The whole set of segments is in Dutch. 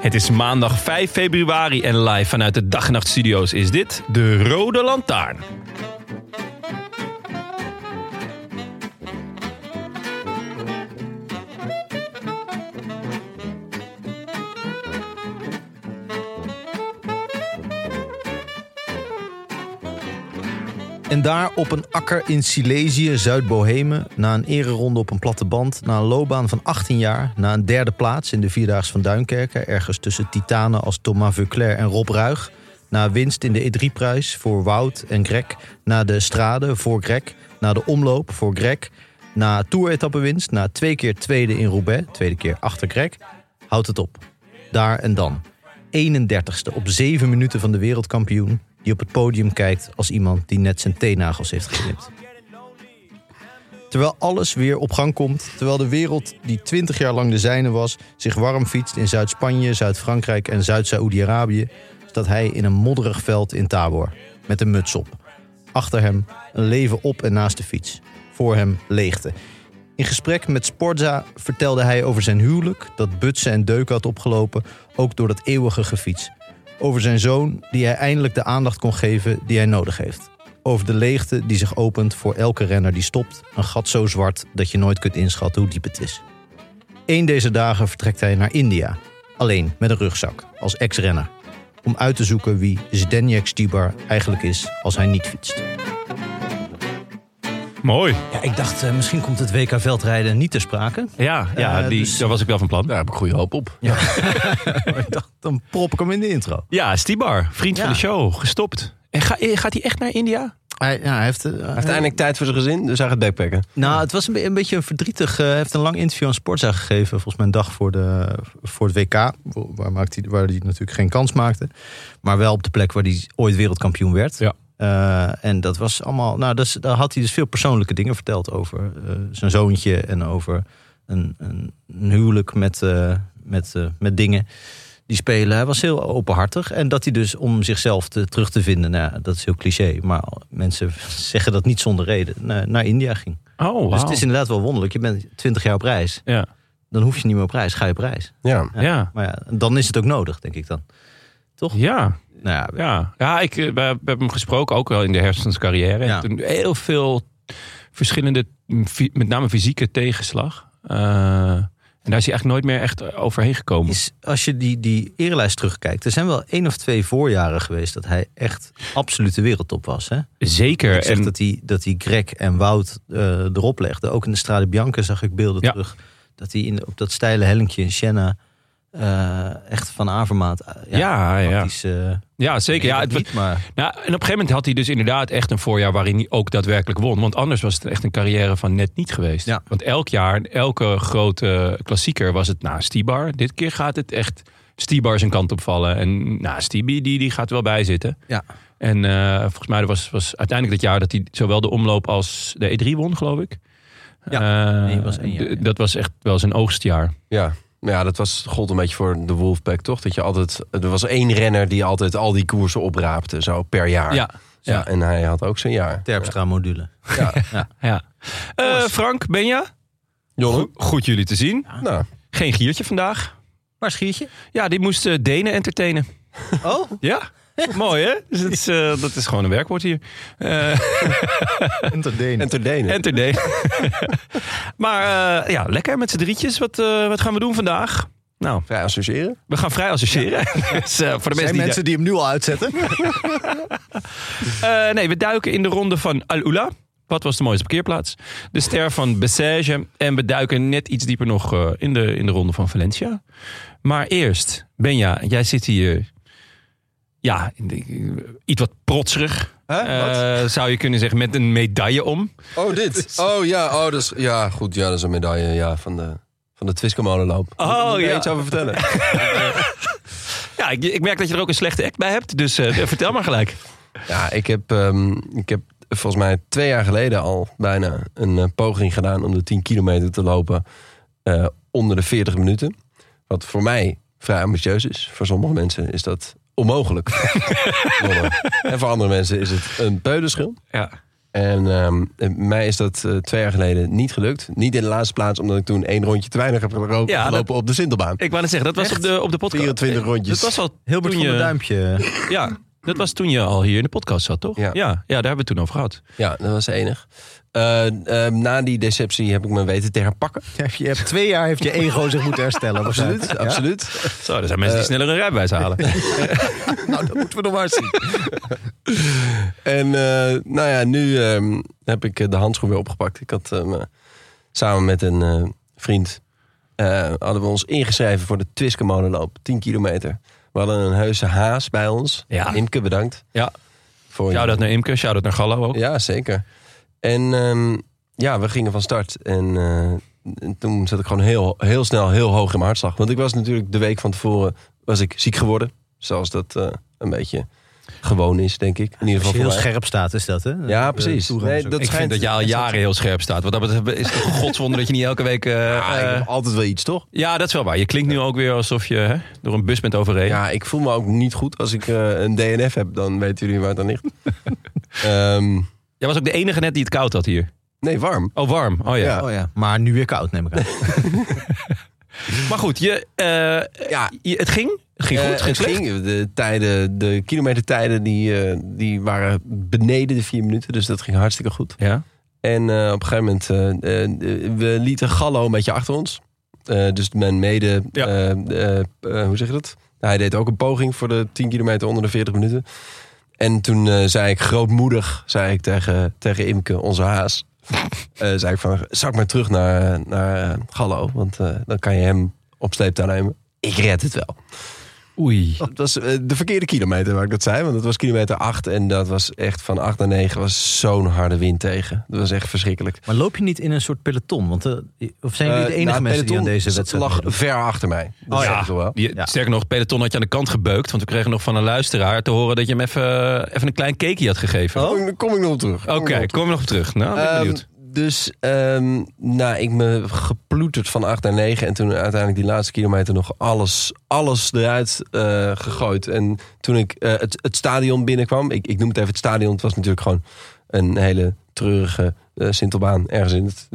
Het is maandag 5 februari en live vanuit de Dag en Nacht Studio's is dit de Rode Lantaarn. En daar op een akker in Silesië, Zuid-Bohemen, na een ereronde op een platte band, na een loopbaan van 18 jaar, na een derde plaats in de Vierdaagse van Duinkerken, ergens tussen titanen als Thomas Vuclair en Rob Ruig, na winst in de E3-prijs voor Wout en Greg, na de strade voor Greg, na de omloop voor Greg, na toer-etappenwinst, na twee keer tweede in Roubaix, tweede keer achter Greg, houdt het op. Daar en dan. 31ste op 7 minuten van de wereldkampioen. Die op het podium kijkt als iemand die net zijn teennagels heeft geknipt. Terwijl alles weer op gang komt. Terwijl de wereld die 20 jaar lang de zijne was. zich warm fietst in Zuid-Spanje, Zuid-Frankrijk en Zuid-Saoedi-Arabië. staat hij in een modderig veld in Tabor. Met een muts op. Achter hem een leven op en naast de fiets. Voor hem leegte. In gesprek met Sporza vertelde hij over zijn huwelijk, dat butsen en deuken had opgelopen, ook door dat eeuwige gefiets. Over zijn zoon, die hij eindelijk de aandacht kon geven die hij nodig heeft. Over de leegte die zich opent voor elke renner die stopt, een gat zo zwart dat je nooit kunt inschatten hoe diep het is. Eén deze dagen vertrekt hij naar India, alleen met een rugzak, als ex-renner, om uit te zoeken wie Zdeněk Stibar eigenlijk is als hij niet fietst. Mooi. Ja, ik dacht, eh, misschien komt het WK veldrijden niet ter sprake. Ja, ja Eh, die, dus- daar was ik wel van plan. Daar heb ik goede hoop op. Maar ik dacht, dan prop ik hem in de intro. Ja, Stibar, vriend van Ja. de show, gestopt. En ga- eh, gaat hij echt naar India? Hij, ja, hij heeft, eh, Hij heeft eindelijk tijd voor zijn gezin, dus hij gaat backpacken. Nou, het was een, be- een beetje een verdrietig. eh, Hij heeft een lang interview aan Sportza gegeven. Volgens mij een dag voor, de, voor het WK. wo- Waar, maakt hij, waar hij natuurlijk geen kans maakte. Maar wel op de plek waar hij ooit wereldkampioen werd. Ja. Eh, en dat was allemaal. Nou, dat is- daar had hij dus veel persoonlijke dingen verteld over eh, zijn zoontje. En over een, een, een huwelijk met, eh, met, eh, met dingen die spelen. Hij was heel openhartig. En dat hij dus om zichzelf te, terug te vinden. Nou, ja, dat is heel cliché. Maar mensen zeggen dat niet zonder reden. Naar, naar India ging. Oh, wow. Dus het is inderdaad wel wonderlijk. Je bent 20 jaar op reis. ja. Dan hoef je niet meer op reis. Ga je op reis. Ja. Ja. Ja. Maar ja, dan is het ook nodig, denk ik dan. Ja, Nou ja, ja. ik eh, we hebben hem gesproken, ook wel in de herfst van zijn carrière. Ja. En Toen heel veel verschillende, mm, fy- met name fysieke tegenslag. Eh, en daar is hij eigenlijk nooit meer echt eh, overheen gekomen. is, als je die, die erenlijst terugkijkt. Er zijn wel één of twee voorjaren geweest dat hij echt absolute wereldtop was. Hè? Zeker. Ik zeg En dat hij, dat hij Greg en Wout eh, erop legde. Ook in de Strade Bianca zag ik beelden Ja. terug. Dat hij in, op dat steile hellinkje in Siena eh, echt van Avermaat. eh, Ja, ja. praktisch, eh, ja, zeker. Ja, weet het, ik wa- niet, maar Nou, en op een gegeven moment had hij dus inderdaad echt een voorjaar waarin hij ook daadwerkelijk won. Want anders was het echt een carrière van net niet geweest. Ja. Want elk jaar, elke grote klassieker was het, nou, Stibar. Dit keer gaat het echt Stibar zijn kant op vallen. En nou, Stibi, die, die gaat er wel bij zitten. Ja. En eh, volgens mij was, was uiteindelijk dat jaar dat hij zowel de omloop als de E3 won, geloof ik. Ja, nee, het was één jaar, ja. Dat was echt wel zijn oogstjaar. Ja. Maar ja, dat was, gold een beetje voor de Wolfpack, toch? Dat je altijd, er was één renner die altijd al die koersen opraapte, zo per jaar. Ja. Zo, Ja. En hij had ook zijn jaar. Terpstra-module. ja. Eh, Frank, Benja, Jongen, goed jullie te zien. nou, Geen giertje vandaag. Maar schiertje? Ja, die moest eh, Denen entertainen. Oh, Ja, mooi hè? Dus dat, is, eh, dat is gewoon een werkwoord hier. Eh en ter denen. entertainen. maar eh, ja, lekker met z'n drietjes. Wat, eh, wat gaan we doen vandaag? Nou, Vrij associëren. we gaan vrij associëren. dus, eh, voor de mensen Zijn die... mensen die hem nu al uitzetten? Eh, nee, we duiken in de ronde van Al-Ula. Wat was de mooiste parkeerplaats? De ster van Bessège. En we duiken net iets dieper nog eh, in, de, in de ronde van Valencia. Maar eerst, Benja, jij zit hier... Ja, in de- iets wat protserig. eh, zou je kunnen zeggen, met een medaille om. Oh, dit. Oh ja, oh, dat is, ja, goed. Ja, dat is een medaille ja, van de, van de Twiskemolenloop. Oh, Moet ik daar ja. iets over vertellen. Ja, ik, ik merk dat je er ook een slechte act bij hebt. Dus eh, vertel maar gelijk. Ja, ik heb, ehm, ik heb volgens mij twee jaar geleden al bijna een eh, poging gedaan om de 10 kilometer te lopen eh, onder de 40 minuten. Wat voor mij vrij ambitieus is. Voor sommige mensen is dat onmogelijk. en voor andere mensen is het een peulenschil. Ja. En ehm, en mij is dat eh, twee jaar geleden niet gelukt. Niet in de laatste plaats, omdat ik toen één rondje te weinig heb gelo- Ja, gelopen op de Sintelbaan. Ik wou net zeggen, dat was op de, op de podcast. 24 Eh, rondjes. Dat was al Hilbert toen van je- der Duimpje. Ja, dat was toen je al hier in de podcast zat, toch? Ja. ja, ja, daar hebben we het toen over gehad. Ja, dat was enig. Eh, eh, na die deceptie heb ik me weten te herpakken. Je hebt twee jaar heeft je ego zich moeten herstellen. Absoluut, Ja? absoluut. Zo, er zijn mensen Eh, die sneller een rijbewijs halen. Nou, dat moeten we nog maar zien. En eh, nou ja, nu ehm, heb ik eh, de handschoen weer opgepakt. Ik had ehm, eh, samen met een eh, vriend eh, hadden we ons ingeschreven voor de Twiskemolenloop, 10 kilometer. We hadden een heuse haas bij ons. Ja. Imke, bedankt. Ja. Voor je. Shout-out naar Imke, shout-out naar Gallo ook. Ja, zeker. En ehm, ja, we gingen van start. En, eh, en toen zat ik gewoon heel, heel snel heel hoog in mijn hartslag. Want ik was natuurlijk de week van tevoren was ik ziek geworden. Zoals dat eh, een beetje gewoon is, denk ik. In ieder Als geval je heel voor mij. scherp staat, is dat hè? Ja, precies. Toeren Nee, is ook- dat ik schijnt- vind dat je al jaren heel scherp staat. Want dat betreft is het toch een godswonder dat je niet elke week... eh, Ah, ik eh, heb altijd wel iets, toch? ja, dat is wel waar. Je klinkt nu ook weer alsof je hè, door een bus bent overreden. Ja, ik voel me ook niet goed. Als ik eh, een DNF heb, dan weten jullie waar het aan ligt. Ehm, Jij was ook de enige net die het koud had hier. nee, warm. Oh, warm. Oh ja. Ja. Oh ja, maar nu weer koud neem ik aan. Maar goed, je, eh, Ja. je- het ging. Het ging goed, het Eh, ging het slecht. ging. De tijden, de kilometertijden, die, eh, die waren beneden de vier minuten. Dus dat ging hartstikke goed. Ja. En eh, op een gegeven moment, eh, eh, we lieten Gallo een beetje achter ons. Eh, dus mijn mede, Ja. eh, eh, eh, hoe zeg je dat? Hij deed ook een poging voor de 10 kilometer onder de 40 minuten. En toen eh, zei ik grootmoedig, zei ik tegen, tegen Imke, onze haas. eh, zei ik van, zak maar terug naar, naar eh, Gallo. Want eh, dan kan je hem op sleeptouw nemen. Ik red het wel. Oei. Het was eh, de verkeerde kilometer waar ik dat zei. Want dat was kilometer 8. En dat was echt van 8 naar 9 was zo'n harde wind tegen. Dat was echt verschrikkelijk. Maar loop je niet in een soort peloton? Want, eh, of zijn jullie de Eh, enige nou, mensen die aan peloton deze wedstrijd lag meedoen? ver achter mij. Dat Oh zeg ja. ik toch wel. Je- Ja. Sterker nog, het peloton had je aan de kant gebeukt. Want we kregen nog van een luisteraar te horen dat je hem even, eh, even een klein cakeje had gegeven. Oh. Daar kom ik- kom ik nog op terug. Kom Oké, ik nog op terug. kom er nog op terug. Nou, ben ik Oh. Ehm, benieuwd. dus ehm, nou, ik me geploeterd van 8 naar 9. En toen uiteindelijk die laatste kilometer nog alles, alles eruit eh, gegooid. En toen ik eh, het, het stadion binnenkwam. Ik, ik noem het even het stadion. Het was natuurlijk gewoon een hele treurige eh, Sintelbaan. Ergens in het,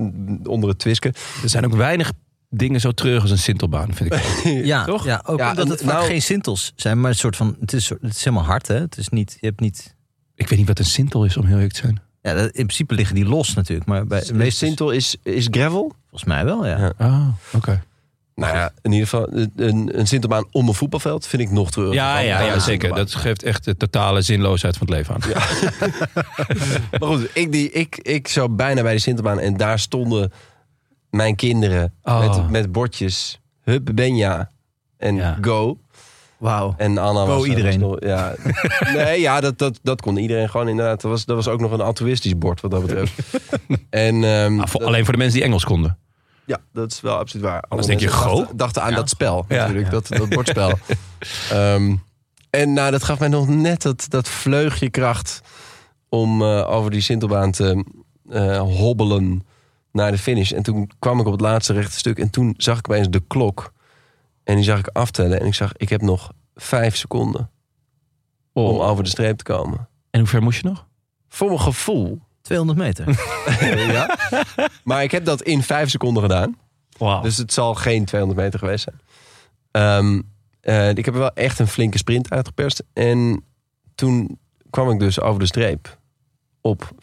onder het Twisken. Er zijn ook weinig dingen zo terug als een Sintelbaan, vind ik. Ja, Toch? ja ook Ja, omdat en het vaak nou- geen sintels zijn, maar een soort van, het is, soort- het is helemaal hard hè. Het is niet, je hebt niet, Ik weet niet wat een Sintel is, om heel eerlijk te zijn. ja, dat- in principe liggen die los natuurlijk, maar bij de meeste Eh, Sintel is, is gravel. volgens mij wel ja. Ja. Ah, oké. Nou ja, in ieder geval een- een, een Sintelbaan om een voetbalveld vind ik nog treuriger. Ja, dan- ja, dan ja, een zeker. Sintelbaan. Dat geeft echt de totale zinloosheid van het leven aan. Maar goed, ik, die, ik, ik zou bijna bij de Sinterbaan en daar stonden mijn kinderen Oh. met, met bordjes. Hup Benja en Ja. go. Wauw. En Anna Go was... iedereen. was nog- ja. Nee, ja, dat, dat, dat kon iedereen gewoon inderdaad. Dat was, dat was ook nog een altruïstisch bord wat dat betreft. en, ehm, Ah, voor- dat- alleen voor de mensen die Engels konden. Ja, dat is wel absoluut waar. Alle denk je, mensen "Go?" dachten, dachten aan Ja. dat spel Ja. natuurlijk, Dat, dat bordspel. Ehm, en nou, dat gaf mij nog net dat, dat vleugje kracht om eh, over die Sintelbaan te eh, hobbelen naar de finish. En toen kwam ik op het laatste rechte stuk en toen zag ik opeens de klok. En die zag ik aftellen en ik zag, ik heb nog vijf seconden om over de streep te komen. En hoe ver moest je nog? Voor mijn gevoel. 200 meter. ja. Maar ik heb dat in vijf seconden gedaan. Wauw. Dus het zal geen 200 meter geweest zijn. Ehm, eh, ik heb er wel echt een flinke sprint uitgeperst. En toen kwam ik dus over de streep op 40-0-0.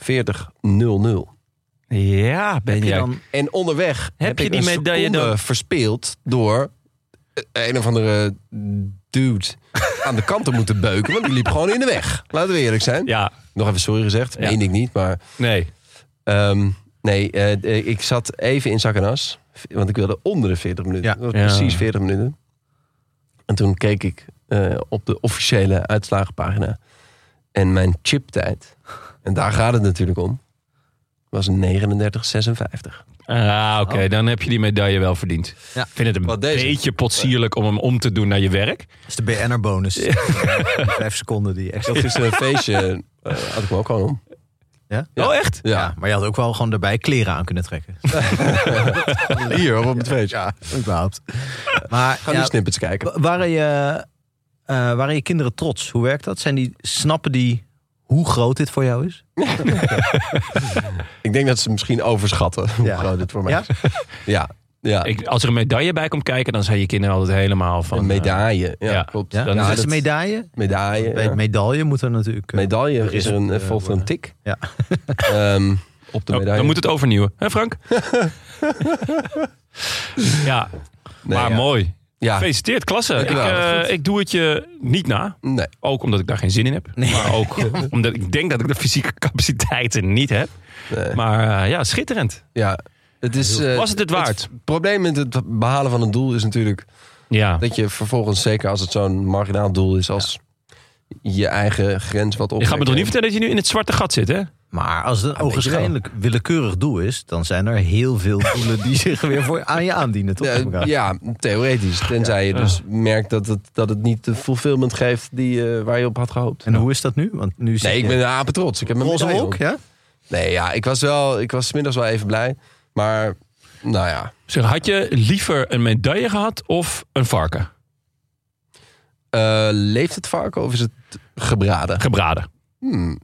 ja, ben Heb je jij. dan En onderweg heb, je ik die een medaille seconde dan? verspeeld door eh, een of andere dude aan de kanten moeten beuken. Want die liep gewoon in de weg. Laten we eerlijk zijn. Ja, Nog even sorry gezegd. Ja. Meen ik niet, maar... nee. ehm, nee, eh, ik zat even in zak en as. Want ik wilde onder de 40 minuten. Ja. Dat was Ja. precies 40 minuten. En toen keek ik eh, op de officiële uitslagenpagina. En mijn chiptijd. En daar gaat het natuurlijk om. Was 39,56. Ah, oké, dan heb je die medaille wel verdiend. Ja. Ik vind het een Wat Oh. deze? beetje potsierlijk om hem om te doen naar je werk. Dat is de BNR-bonus. Die Vijf seconden die echt. Dat is een Dus, feestje. eh, had ik me ook gewoon om. Ja? Ja. Oh, echt? Ja. Ja, maar je had ook wel gewoon daarbij kleren aan kunnen trekken. Hier, op het feestje. Ja, überhaupt. Maar Ga nu ja, snippets kijken. wa- waren, je, eh, waren je kinderen trots? Hoe werkt dat? Zijn die, snappen die hoe groot dit voor jou is? Ik denk dat ze misschien overschatten hoe Ja. groot het voor mij Ja? is. Ja, ja. Ik, als er een medaille bij komt kijken, dan zijn je kinderen altijd helemaal van... een eh, medaille. Ja, ja. klopt. Ja? Ja, Dan is het dat- een medaille. medaille. Bij ja. het medaille moet er natuurlijk... eh, Medaille is er een, eh, eh, volgt er een tik. Ja. Ehm, op de oh, medaille. dan moet het overnieuwen. Hè, Frank? ja, Nee, maar ja. mooi. Ja. Gefeliciteerd, klasse. Ik, Dankjewel, eh, dat is goed. ik doe het je niet na. Nee. Ook omdat ik daar geen zin in heb. Maar ook omdat ik denk dat ik de fysieke capaciteiten niet heb. Nee. Maar eh, ja, schitterend. Ja. Het is, eh, Was het het waard? Het probleem met het behalen van een doel is natuurlijk Ja. dat je vervolgens, zeker als het zo'n marginaal doel is, als je eigen grens wat op. Je gaat me toch niet vertellen dat je nu in het zwarte gat zit, hè? Maar als het een ogenschijnlijk willekeurig doel is... dan zijn er heel veel doelen die zich weer voor aan je aandienen. Toch? Ja, ja, theoretisch. Tenzij je dus merkt dat het, dat het niet de fulfillment geeft die, eh, waar je op had gehoopt. En hoe is dat nu? Want nu zit Nee, ik je- ben een apen trots. Ik heb mijn Roze medaille wolk, op. ja? Nee, ja, ik was wel, ik was 's middags wel even blij. Maar, nou ja. Zeg, had je liever een medaille gehad of een varken Eh, leeft het varken of is het gebraden? gebraden? Hmm,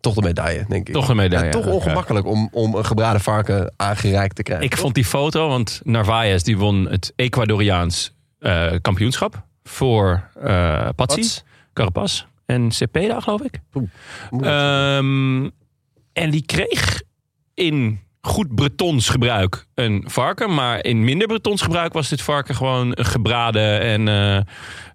toch de medaille, denk ik. Toch een Ja, medaille. toch Ja. ongemakkelijk om, om een gebraden varken aangereikt te krijgen. Ik vond die foto, want Narvaez die won het Ecuadoriaans eh, kampioenschap voor eh Patsy, Pats. Carapaz en Cepeda, geloof ik. Moet- Ehm, en die kreeg in goed Bretons gebruik een varken. Maar in minder Bretons gebruik was dit varken gewoon gebraden. En eh,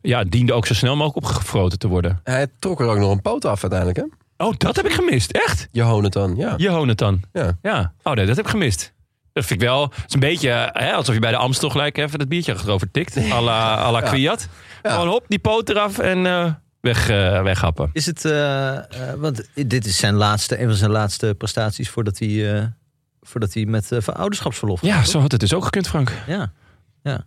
ja, diende ook zo snel mogelijk opgefroten te worden. Hij trok er ook nog een poot af uiteindelijk, hè? Oh, dat heb ik gemist. Echt? Jonathan, ja. Jonathan. Ja. ja. Oh nee, dat heb ik gemist. Dat vind ik wel. Het is een beetje eh, hè, alsof je bij de Amstel gelijk even dat biertje achterover tikt. A la, à la Ja. Kwiat. Gewoon hop, die poot eraf en eh weg, eh, weghappen. Is het, eh, eh, want dit is zijn laatste, een van zijn laatste prestaties voordat hij, eh, voordat hij met eh, van ouderschapsverlof gaat, Ja, zo had het dus ook gekund, Frank. toch? Ja. ja.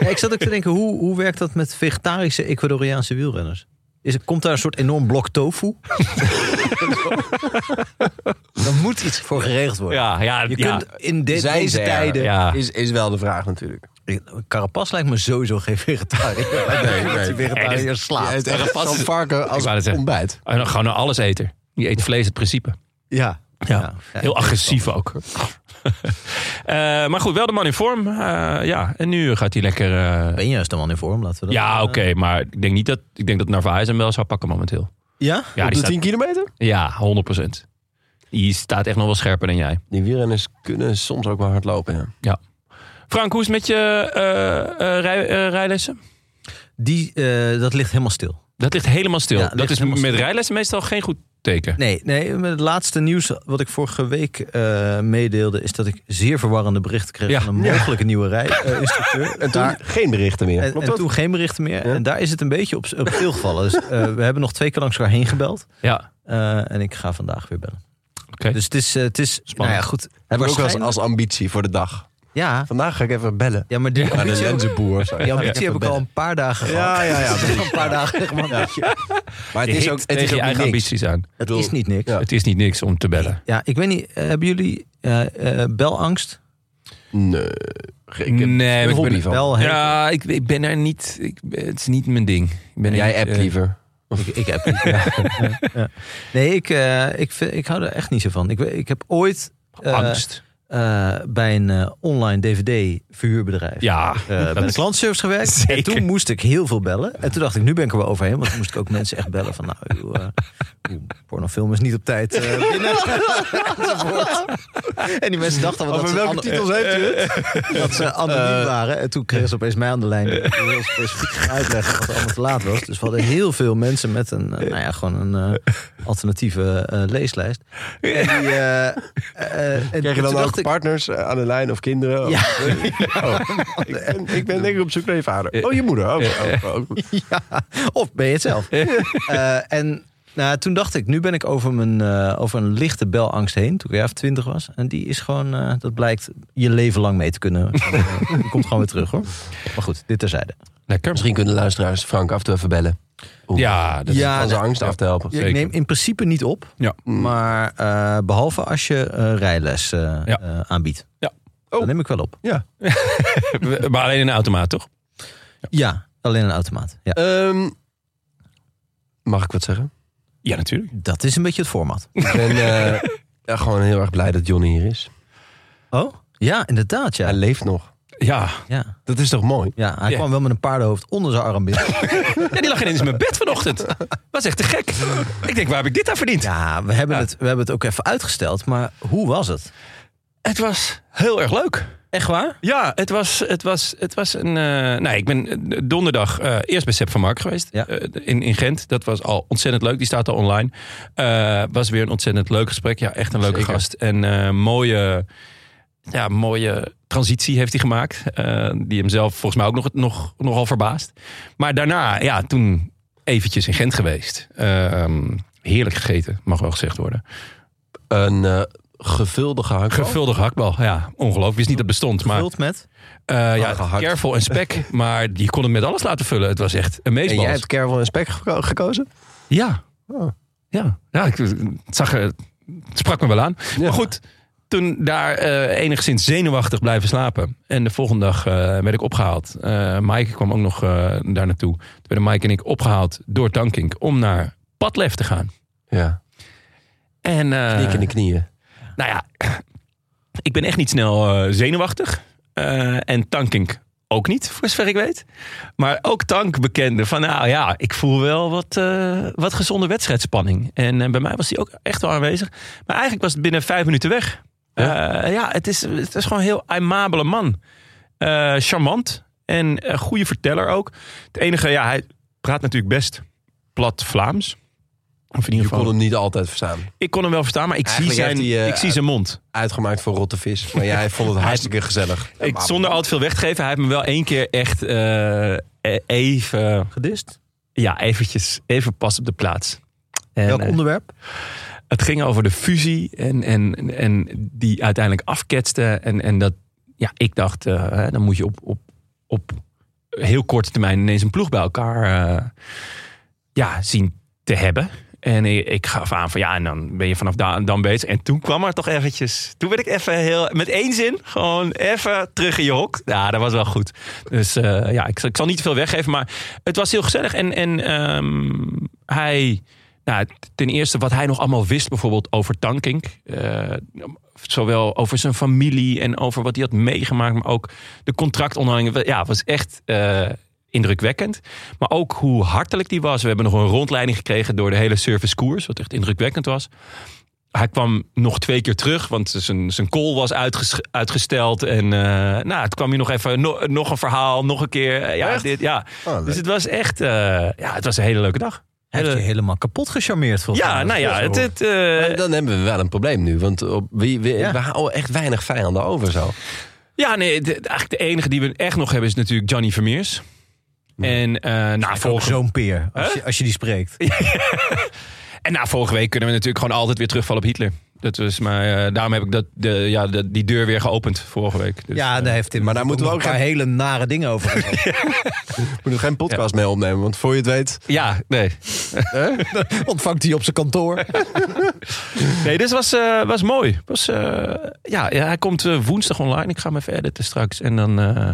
Ja, ik zat ook te denken, hoe, hoe werkt dat met vegetarische Ecuadoriaanse wielrenners? Is, er- komt daar een soort enorm blok tofu? Dan moet iets voor geregeld worden. Ja, ja, Je ja. kunt in de- Zijn deze ze er? tijden... Ja. Is, is wel de vraag natuurlijk. Carapas lijkt me sowieso geen vegetariër. Nee, nee. Nee, vegetariër Hij slaapt. heeft echt zo'n varken als wou net zeggen. ontbijt. En dan gewoon een alleseter. Die eet vlees het principe. Ja. Ja. Ja. Heel agressief ook. Eh, maar goed, wel de man in vorm. Eh, ja, en nu gaat hij lekker... eh, Ben juist de man in vorm, laten we dat... Ja, eh, oké, maar ik denk niet dat... Ik denk dat Narvaez hem wel zou pakken momenteel. Ja? Ja, Op die de staat, 10 kilometer? ja 100%. Die staat echt nog wel scherper dan jij. Die wielrenners kunnen soms ook wel hard lopen, ja. Frank, hoe is het met je eh, eh, rij- eh, rijlessen? Die, eh, dat ligt helemaal stil. Dat ligt helemaal stil. Ja, ligt dat is helemaal met stil. rijlessen meestal geen goed teken. Nee, nee, met het laatste nieuws wat ik vorige week eh, meedeelde... is dat ik zeer verwarrende berichten kreeg Ja. van een mogelijke nieuwe rijinstructeur. En toen geen berichten meer. en, Klopt en dat? toen geen berichten meer. Ja. En daar is het een beetje op, op stil gevallen. Dus eh, we hebben nog twee keer langs elkaar heen gebeld. Ja, eh, en ik ga vandaag weer bellen. oké. Dus het is, eh, het is Spannend. Nou ja, goed. Hebben we ook als, waarschijnlijk- als ambitie voor de dag. Ja, Vandaag ga ik even bellen. ja, maar die Aan de ambitie, ook- lenzenboer. die ambitie heb ik al een paar dagen gehad. ja, ja. Nog een paar dagen. echt, man. Maar het is ook, het tegen is je ook eigen niet niks. ambities aan. Het is niet niks. Ja. Het is niet niks om te bellen. Ja, ik weet niet, eh, hebben jullie eh, eh, belangst? Nee. Ik heb nee, een maar ik ben, hobby van. Bel, hey, Ja, ik, ik ben er niet. Ik, het is niet mijn ding. Ik ben er Jij niet, appt eh, liever. Ik, ik heb niet. Ja, ja. Nee, ik, eh, ik, vind- ik hou er echt niet zo van. Ik, we- ik heb ooit eh, angst. eh, bij een eh, online dvd-verhuurbedrijf Ja, eh bij de is- klantservice gewerkt. En Zeker. toen moest ik heel veel bellen. En toen dacht ik, nu ben ik er wel overheen. Want toen moest ik ook mensen echt bellen van, nou, joh, eh, Die pornofilm is niet op tijd eh, binnen. Enzovoort. en die mensen dachten wel dat ze, ano- heeft u Eh, dat ze anoniem waren. En toen kregen ze opeens mij aan de lijn. Ik wilde heel specifiek gaan uitleggen wat er allemaal te laat was. Dus we hadden heel veel mensen met een, eh, nou ja, gewoon een eh, alternatieve eh, leeslijst. En die, eh, eh, en Krijg je toen dan dacht ook ik- partners eh, aan de lijn of kinderen? Ja. Of- Oh. ik, ben, ik ben denk ik op zoek naar je vader. Oh, je moeder. Oh, oh, oh. Ja, of ben je het zelf? Eh, en nou, toen dacht ik, nu ben ik over, mijn, eh, over een lichte belangst heen, toen ik jaar of twintig was. En die is gewoon, eh, dat blijkt je leven lang mee te kunnen. Eh, die komt gewoon weer terug hoor. Maar goed, dit terzijde. Lekker. Misschien kunnen luisteraars Frank af en toe even bellen. Om Ja, dat Ja, van zijn nee. angst af te helpen. Ja, ik neem in principe niet op, Ja. maar eh, behalve als je eh, rijles eh, Ja. eh, aanbiedt. Ja. Oh. Dan neem ik wel op. is- maar alleen in een automaat, toch? Ja, alleen een automaat. Ja. Ehm, mag ik wat zeggen? Ja, natuurlijk. Dat is een beetje het format. Ik ben eh, ja, gewoon heel erg blij dat Johnny hier is. Oh? Ja, inderdaad. Hij Ja. leeft nog. Ja. Ja. Dat is toch mooi? ja, hij Ja. kwam wel met een paardenhoofd onder zijn arm binnen. ja, die lag ineens in mijn bed vanochtend. Was echt te gek. Ik denk, waar heb ik dit aan verdiend? Ja, we hebben, Ja. Het, we hebben het ook even uitgesteld, maar hoe was het? Het was heel erg leuk. Echt waar? Ja, het was, het was, het was een. eh, nou, ik ben eh, donderdag eh, eerst bij Sepp van Mark geweest. Ja. eh, in, in Gent. Dat was al ontzettend leuk. Die staat al online. Eh, was weer een ontzettend leuk gesprek. Ja, echt een leuke Zeker. gast. En eh, mooie. Ja, mooie transitie heeft hij gemaakt. eh, die hem zelf volgens mij ook nog, nog, nogal verbaast. Maar daarna, ja, toen eventjes in Gent geweest. Eh, ehm, heerlijk gegeten, mag wel gezegd worden. Een eh, gevuldige hakbal. Gevuldige hakbal, ja, ongelooflijk. Wist niet dat het bestond, maar Gevuld met? eh, ja, gehakt. kervel en spek. Maar die kon het met alles laten vullen. Het was echt en amazing. jij hebt kervel en spek geko- gekozen? Ja. Oh. Ja, ja ik, het, zag, er- het sprak me wel aan. Ja. Maar goed, toen daar eh, enigszins zenuwachtig blijven slapen. En de volgende dag eh, werd ik opgehaald. Eh Mike kwam ook nog eh, daar naartoe. Toen werden Mike en ik opgehaald door Tankink om naar Padlef te gaan. Ja. En, eh, Knik in de knieën. Nou ja, ik ben echt niet snel eh, zenuwachtig. Eh, en Tankink ook niet, voor zover ik weet. Maar ook Tank bekende van, nou ja, ik voel wel wat, eh, wat gezonde wedstrijdspanning. En eh, bij mij was die ook echt wel aanwezig. Maar eigenlijk was het binnen vijf minuten weg. Ja, ja het, is, het is gewoon een heel aimabele man. Eh, charmant en een goede verteller ook. Het enige, ja, hij praat natuurlijk best plat Vlaams. Of in Je ieder kon geval. hem niet altijd verstaan. Ik kon hem wel verstaan, maar ik, zie Eigenlijk zijn, heeft hij, eh, ik zie zijn mond. Uitgemaakt voor rotte vis. Maar jij vond het hartstikke gezellig. Ik, zonder al te veel weg te geven, hij heeft me wel één keer echt eh, eh, even, Gedist? ja, eventjes, even pas op de plaats. En, Welk eh, onderwerp? het ging over de fusie en, en, en die uiteindelijk afketste. En, en dat, ja, ik dacht, eh, hè, dan moet je op, op, op heel korte termijn ineens een ploeg bij elkaar eh, ja, zien te hebben. En ik, ik gaf aan van ja, en dan ben je vanaf da- dan bezig. En toen kwam er toch eventjes, toen werd ik even heel, met één zin, gewoon even terug in je hok. Ja, dat was wel goed. Dus eh, ja, ik, zal- ik zal niet te veel weggeven, maar het was heel gezellig. En, en ehm, hij... Nou, t- ten eerste wat hij nog allemaal wist, bijvoorbeeld over Tankink. Eh, zowel over zijn familie en over wat hij had meegemaakt, maar ook de contractonderhandelingen. Ja, was echt eh, indrukwekkend. Maar ook hoe hartelijk die was. We hebben nog een rondleiding gekregen door de hele servicekoers, wat echt indrukwekkend was. Hij kwam nog twee keer terug, want zijn, zijn call was uitges- uitgesteld. En eh, nou, het kwam hier nog even, no- nog een verhaal, nog een keer. eh, ja, dit, ja. Dus het was echt, eh, ja, het was een hele leuke dag. Hij heeft Hele- je helemaal kapot gecharmeerd volgens ja, mij. nou ja, het, het, eh, dan hebben we wel een probleem nu. Want op, wie, wie- Ja. we houden echt weinig vijanden over zo. ja, nee, de- eigenlijk de enige die we echt nog hebben is natuurlijk Johnny Vermeers. En, eh nou, Ook volgens, zo'n peer, als je, als je die spreekt. en na vorige week kunnen we natuurlijk gewoon altijd weer terugvallen op Hitler. Dat was maar, eh, daarom heb ik dat, de, ja, de- die deur weer geopend vorige week. Dus, ja, daar heeft hij maar daar moeten we nog ook een paar hele nare dingen over. gezegd. We moeten geen podcast mee opnemen. Want voor je het weet... ja, nee. Ontvangt hij op zijn kantoor. Nee, dit was, eh, was mooi. Was, eh, ja, ja, hij komt eh, woensdag online. Ik ga hem even editen straks. En dan, eh,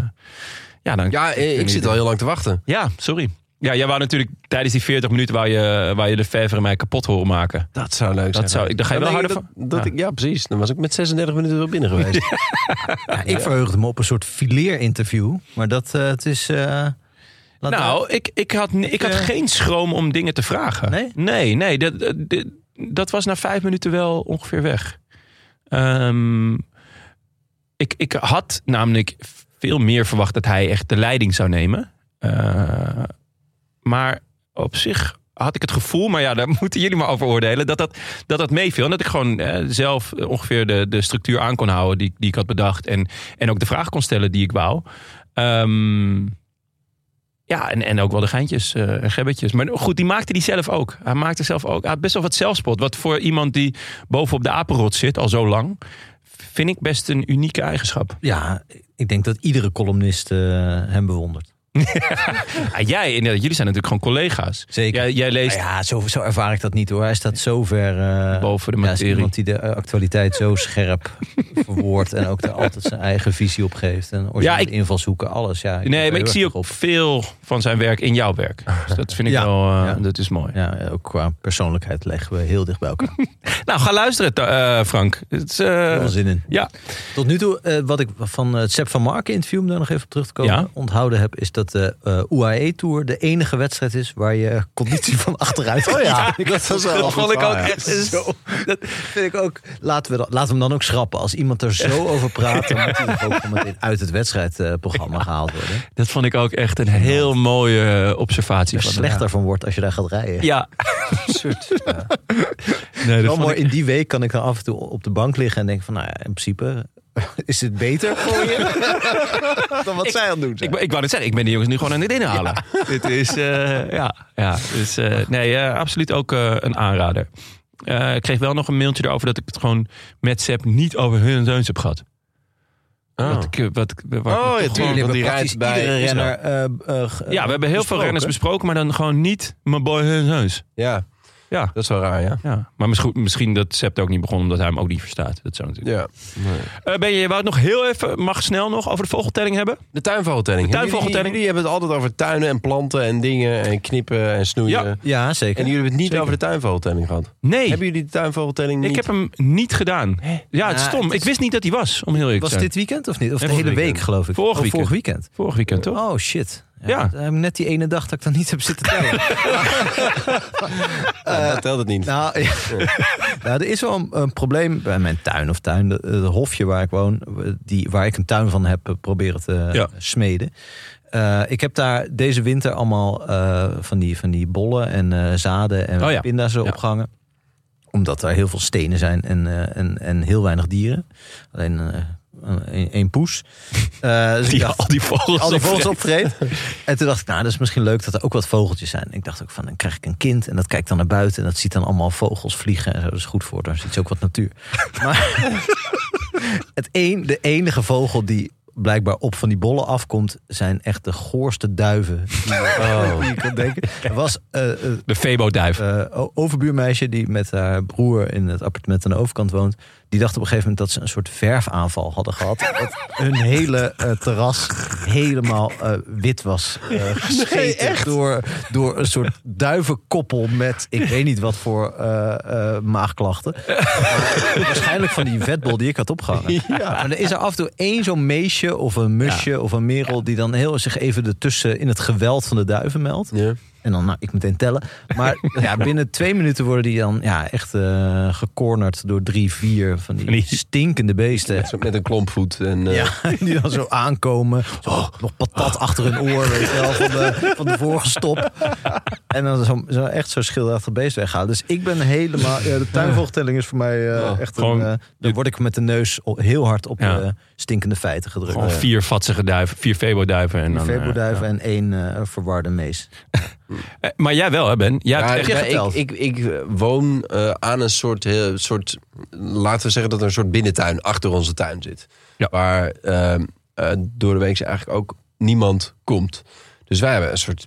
ja, dan Ja, eh, ik zit al heel lang te wachten. Ja, sorry. Ja, jij wou natuurlijk tijdens die 40 minuten waar je, waar je de verver en mij kapot horen maken. Dat zou leuk zijn. Dat zou, dan ga je wel denk harder ik van. dat, dat Ja. ik, ja, precies. Dan was ik met 36 minuten wel binnen geweest. Ja, ik verheugde me op een soort fileer-interview. Maar dat eh, het is... eh, Laat daar- Nou, ik, ik had, ik had eh, geen schroom om dingen te vragen. Nee? Nee, nee, dat, dat, dat was na vijf minuten wel ongeveer weg. Ehm, ik, ik had namelijk veel meer verwacht dat hij echt de leiding zou nemen. Eh, maar op zich had ik het gevoel, maar ja, daar moeten jullie maar over oordelen, dat dat, dat, dat meeviel. En dat ik gewoon eh, zelf ongeveer de, de structuur aan kon houden die, die ik had bedacht. En, en ook de vraag kon stellen die ik wou. Ehm, ja, en, en ook wel de geintjes eh, en gebbetjes. Maar goed, die maakte die zelf ook. Hij maakte zelf ook. Hij had best wel wat zelfspot. Wat voor iemand die bovenop de apenrot zit al zo lang, vind ik best een unieke eigenschap. ja, ik denk dat iedere columnist eh, hem bewondert. Ja, jij, inderdaad, jullie zijn natuurlijk gewoon collega's. Zeker. Jij, jij leest Nou ja, zo, zo ervaar ik dat niet hoor. Hij staat zo ver eh, boven de Ja, is materie. iemand die de eh, actualiteit zo scherp verwoordt en ook daar altijd zijn eigen visie op geeft en originele Ja, ik- invalshoeken, alles. Ja, ben nee, heel maar ik erg zie op. ook veel van zijn werk in jouw werk. Dus dat vind ik Ja. wel, eh, Ja. dat is mooi. Ja, ook qua persoonlijkheid leggen we heel dicht bij elkaar. Nou, ga luisteren, ta- eh, Frank. Het is, eh, Heel veel zin in. ja. Tot nu toe, eh, wat ik van eh, het Sepp van Marken interview, om daar nog even op terug te komen, Ja. onthouden heb, is dat de eh, UAE Tour de enige wedstrijd is waar je conditie van achteruit gaat. dat Oh was Ah, Dat vond ik ook echt zo. zo. Dat vind ik ook. Laten we, dat- laten we hem dan ook schrappen. Als iemand er zo over praat, dan moet hij toch ook gewoon meteen uit het wedstrijdprogramma gehaald worden. Dat vond ik ook echt een heel mooie eh, observatie. Wat van slechter van wordt als je daar gaat rijden. Ja. Nee, dat Wel mooi, vond ik- in die week kan ik dan af en toe op de bank liggen en denk van, nou ja, in principe is het beter voor je dan wat zij aan het doen Ik, zijn. wou- ik wou net zeggen, ik ben die jongens nu gewoon aan het inhalen. Dit is, eh, ja, ja. Dus, eh, nee, eh, absoluut ook eh, een aanrader. Eh, ik kreeg wel nog een mailtje erover dat ik het gewoon met Sepp niet over hun en deuns heb gehad. Wat ik, eh, wat, ik- waar ik me Oh, toch ja, gewoon- tuurlijk. want die praktisch rijdt bij iedere Israël. renner. eh, eh, ge- ja, we hebben heel veel besproken. renners besproken, maar dan gewoon niet mijn boy hun en deuns. Ja. Ja. dat is wel raar, ja. Ja, maar misschien, misschien dat Sepp het ook niet begon omdat hij hem ook niet verstaat. Dat zou natuurlijk. ja. Eh, ben je, je wou het nog heel even, mag snel nog over de vogeltelling hebben? De tuinvogeltelling. De tuinvogeltelling. Jullie, jullie hebben het altijd over tuinen en planten en dingen en knippen en snoeien. Ja. En Ja, zeker. jullie hebben het niet Zeker. over de tuinvogeltelling gehad. Nee. Hebben jullie de tuinvogeltelling niet? Ik heb hem niet gedaan. Ja, het is Nou, stom. het is- Ik wist niet dat hij was, om heel eerlijk te Was zijn. dit weekend of niet? Of Nee, de hele vorig week weekend. geloof ik? Vorig Oh, weekend. Vorig weekend. Vorig weekend, toch? Oh shit. Ja. dat heb ik net die ene dag dat ik dan niet heb zitten tellen. Ja, dat telt het niet. nou, ja. nou, er is wel een, een probleem bij mijn tuin of tuin. de- Het hofje waar ik woon, die, waar ik een tuin van heb eh, proberen te Ja. smeden. Eh, ik heb daar deze winter allemaal eh, van, die, van die bollen en eh, zaden en Oh ja. pinda's opgehangen. Omdat daar heel veel stenen zijn en, eh, en, en heel weinig dieren. Alleen eh, een één poes. Eh, dus ik Die, dacht- al die vogels. al die opvreet. vogels optreedt. En toen dacht ik, nou, dat is misschien leuk dat er ook wat vogeltjes zijn. Ik dacht ook van, dan krijg ik een kind en dat kijkt dan naar buiten en dat ziet dan allemaal vogels vliegen en zo. Dat is goed voor, daar ziet ze ook wat natuur. Maar het een, de enige vogel die blijkbaar op van die bollen afkomt, zijn echt de goorste duiven die, Oh. je- die je kan denken. Er was eh, eh, De febo-duif. eh, o- overbuurmeisje die met haar broer in het appartement aan de overkant woont. Die dacht op een gegeven moment dat ze een soort verfaanval hadden gehad. Dat hun hele eh, terras helemaal eh, wit was eh, gescheten. door, door een soort duivenkoppel met ik weet niet wat voor eh, eh, maagklachten. Maar waarschijnlijk van die vetbol die ik had opgehangen. Maar er is er af en toe één zo'n meesje of een musje of een merel... die dan heel zich even ertussen in het geweld van de duiven meldt. Ja. En dan, nou, ik meteen tellen. Maar ja, binnen twee minuten worden die dan ja, echt eh gecornerd door drie, vier van die Die- stinkende beesten. Zo Met een klompvoet. En, eh, Ja, die dan zo aankomen. Zo, Oh. nog patat achter hun oor, weet je wel, van de, van de vorige stop. En dan zo, zo echt zo schilderachtig beest weghalen. Dus ik ben helemaal... ja, de tuinvogeltelling is voor mij eh, echt gewoon- een... eh, dan word ik met de neus o- heel hard op Ja. de stinkende feiten gedrukt. Gewoon vier vatsige duiven. Vier febo-duiven. En Een dan, eh, verboduif en één eh, verwarde mees. eh, maar jij wel, hè, Ben? Jij Ja, hebt echt... ja, geteld. ik, ik, ik eh, woon eh, aan een soort, eh, soort, laten we zeggen dat er een soort binnentuin achter onze tuin zit. Ja. Waar eh, eh, door de week eigenlijk ook niemand komt. Dus wij hebben een soort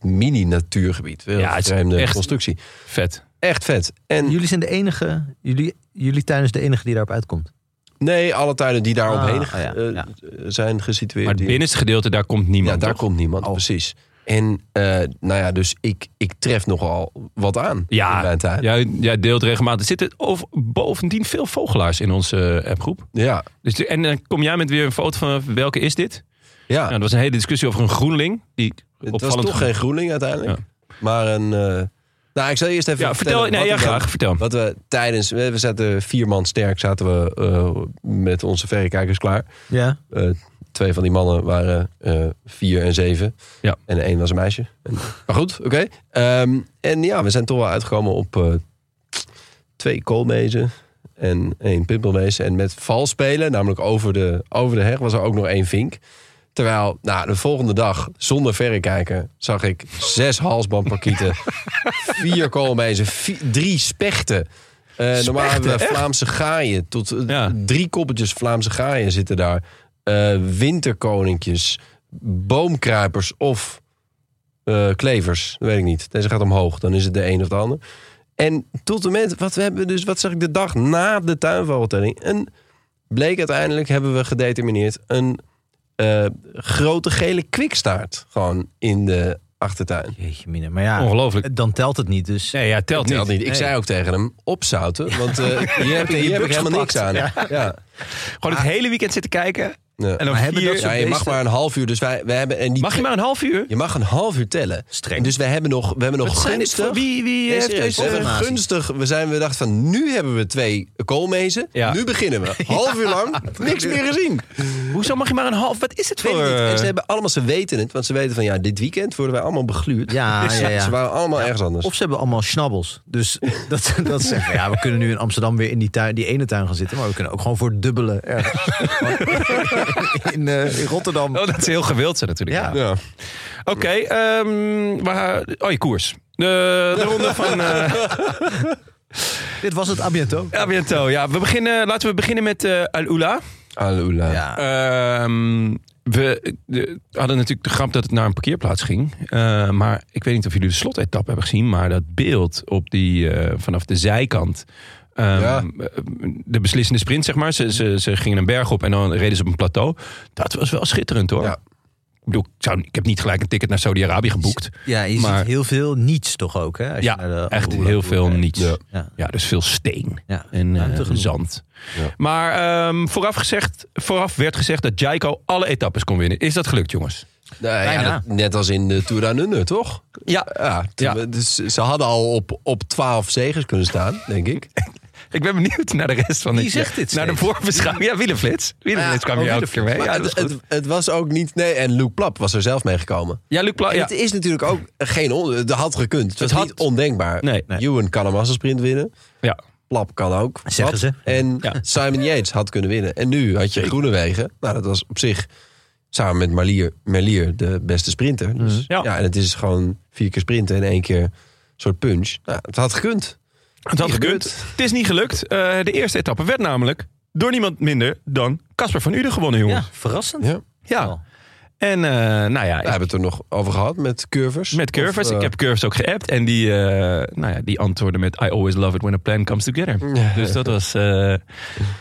mini-natuurgebied. Een Ja, het is vreemde echt- constructie. Vet. Echt vet. En Jullie zijn de enige... Jullie, jullie tuin is de enige die daarop uitkomt. nee, alle tuinen die daar Ah, omheen ah, ja, eh, ja. zijn gesitueerd. Maar het die- binnenste gedeelte, daar komt niemand. ja, daar toch? komt niemand. Oh. Precies. En eh, nou ja, dus ik, ik tref nogal wat aan in Ja, mijn tuin. jij, jij deelt regelmatig. Er zitten of, bovendien veel vogelaars in onze eh, appgroep. ja. Dus, de- en dan kom jij met weer een foto van welke is dit? ja. Nou, er was een hele discussie over een groenling. Die Het was opvallend toch eh, goed. geen Groening uiteindelijk. Maar een... eh, nou, ik zal eerst even Ja, vertel. vertellen Nee, wat ja, ik dan- graag. Vertel. Wat we tijdens... We we zaten vier man sterk zaten we eh, met onze verrekijkers klaar. Ja. Eh, twee van die mannen waren eh, vier en zeven. Ja. En één was een meisje. En, maar goed, oké. Ehm, en ja, we zijn toch wel uitgekomen op eh, twee koolmezen en één pimpelmees. En met vals spelen, namelijk over de, over de heg, was er ook nog één vink. Terwijl, nou, de volgende dag, zonder verrekijken, zag ik zes halsbandparkieten, vier koolmezen, vi- drie spechten. Eh, normaal hebben we Vlaamse gaaien. Tot, eh, Ja. Drie koppeltjes Vlaamse gaaien zitten daar. Eh, winterkoninkjes, boomkruipers of eh, klevers. Dat weet ik niet. Deze gaat omhoog. Dan is het de een of de ander. En tot en met, wat, we hebben dus, wat zag ik de dag na de tuinvogeltelling? Een, bleek uiteindelijk, hebben we gedetermineerd, een eh, grote gele kwikstaart. Gewoon in de achtertuin. Jeetje mine. Maar ja, Ongelooflijk. dan telt het niet. Dus Nee, ja, telt Dat niet. niet. Ik Nee. zei ook tegen hem, opzouten. Want eh hier heb, hier heb ik helemaal niks aan. Ja. Ja. Gewoon het hele weekend zitten kijken. En dan Maar hebben vier... dat soort- Ja, je mag beesten- maar een half uur. Dus wij, wij hebben, en die, Mag je maar een half uur? je mag een half uur tellen. Streng. Dus we hebben nog, we hebben nog Wat zijn dit voor- gunstig... Wie, wie eh, Nee, heeft serieus, deze... we hebben nazi? gunstig. We, zijn, we dachten van, nu hebben we twee koolmezen. Ja. Nu beginnen we. Half uur lang, niks meer gezien. Hoezo mag je maar een half? Wat is het Weet voor... ik niet. En ze hebben allemaal, ze weten het. Want ze weten van, ja, dit weekend worden wij allemaal begluurd. Ja, Dus ja, Ze ja. waren allemaal ergens anders. Of ze hebben allemaal schnabbels. Dus dat, dat zeggen ja, we kunnen nu in Amsterdam weer in die, tuin, die ene tuin gaan zitten. Maar we kunnen ook gewoon voor het dubbele ergens. in, eh, in Rotterdam. Oh, dat is heel gewild zijn natuurlijk. Ja. ja. Oké, ehm, waar... Oh, je koers. De, de ronde van... eh, Dit was het Abiento. Ja, bientôt. Ja, we beginnen, laten we beginnen met eh Al-Ula. Alula. Ja. Ehm, we de- hadden natuurlijk de grap dat het naar een parkeerplaats ging. Eh, maar ik weet niet of jullie de slotetappe hebben gezien. Maar dat beeld op die, eh, vanaf de zijkant. ehm, Ja. De beslissende sprint, zeg maar. Ze, ze, ze gingen een berg op en dan reden ze op een plateau. Dat was wel schitterend hoor. Ja. Ik, bedoel, ik, zou, ik heb niet gelijk een ticket naar Saudi-Arabië geboekt. Ja, je Maar- ziet heel veel niets toch ook, hè? Als Ja, je naar de echt Oerla heel toe veel kijkt. niets. Ja. Ja. dus veel steen Ja. en eh, Ruimte genoeg. zand. Ja. Maar ehm, vooraf, gezegd, vooraf werd gezegd dat Jaiko alle etappes kon winnen. Is dat gelukt, jongens? Nou, ja, Bijna. dat- net als in de Tour aan Nunne, toch? Ja. Ja, t- Ja. Dus ze hadden al op, op 12 zegers kunnen staan, denk ik. Ik ben benieuwd naar de rest van Wie dit. Ah, zegt dit Naar de steeds? voorbeschouwing. Ja, Wielenflits. Wielenflits kwam oh, je ook een keer mee. Maar Ja, dat het, was goed. het, het was ook niet. Nee, en Luke Plap was er zelf mee gekomen. ja, Luc Pla- En ja. Het is natuurlijk ook geen. on- Het had gekund. Ah, Het, Het was had- niet ondenkbaar. Nee, nee. Ewan kan een massasprint winnen. ja. Plap kan ook. Zeggen Plap. ze. En Ja. Simon Yates had kunnen winnen. En nu had je Groenewegen. Nou, dat was op zich samen met Marlier, Merlier de beste sprinter. Dus, Ja. ja. en het is gewoon vier keer sprinten en één keer soort punch. Nou, het had gekund. Het had Niet gekund. gebeurd. Het is niet gelukt. Eh, de eerste etappe werd namelijk door niemand minder dan Casper van Uden gewonnen, Ja, jongens. verrassend. Ja. Ja. Wel. En eh, nou ja, We hebben het er nog over gehad met curvers. Met Curvers. Of, eh, ik heb Curvers ook geappt. En die, eh, nou ja, die antwoordde met... I always love it when a plan comes together. Dus dat was... eh,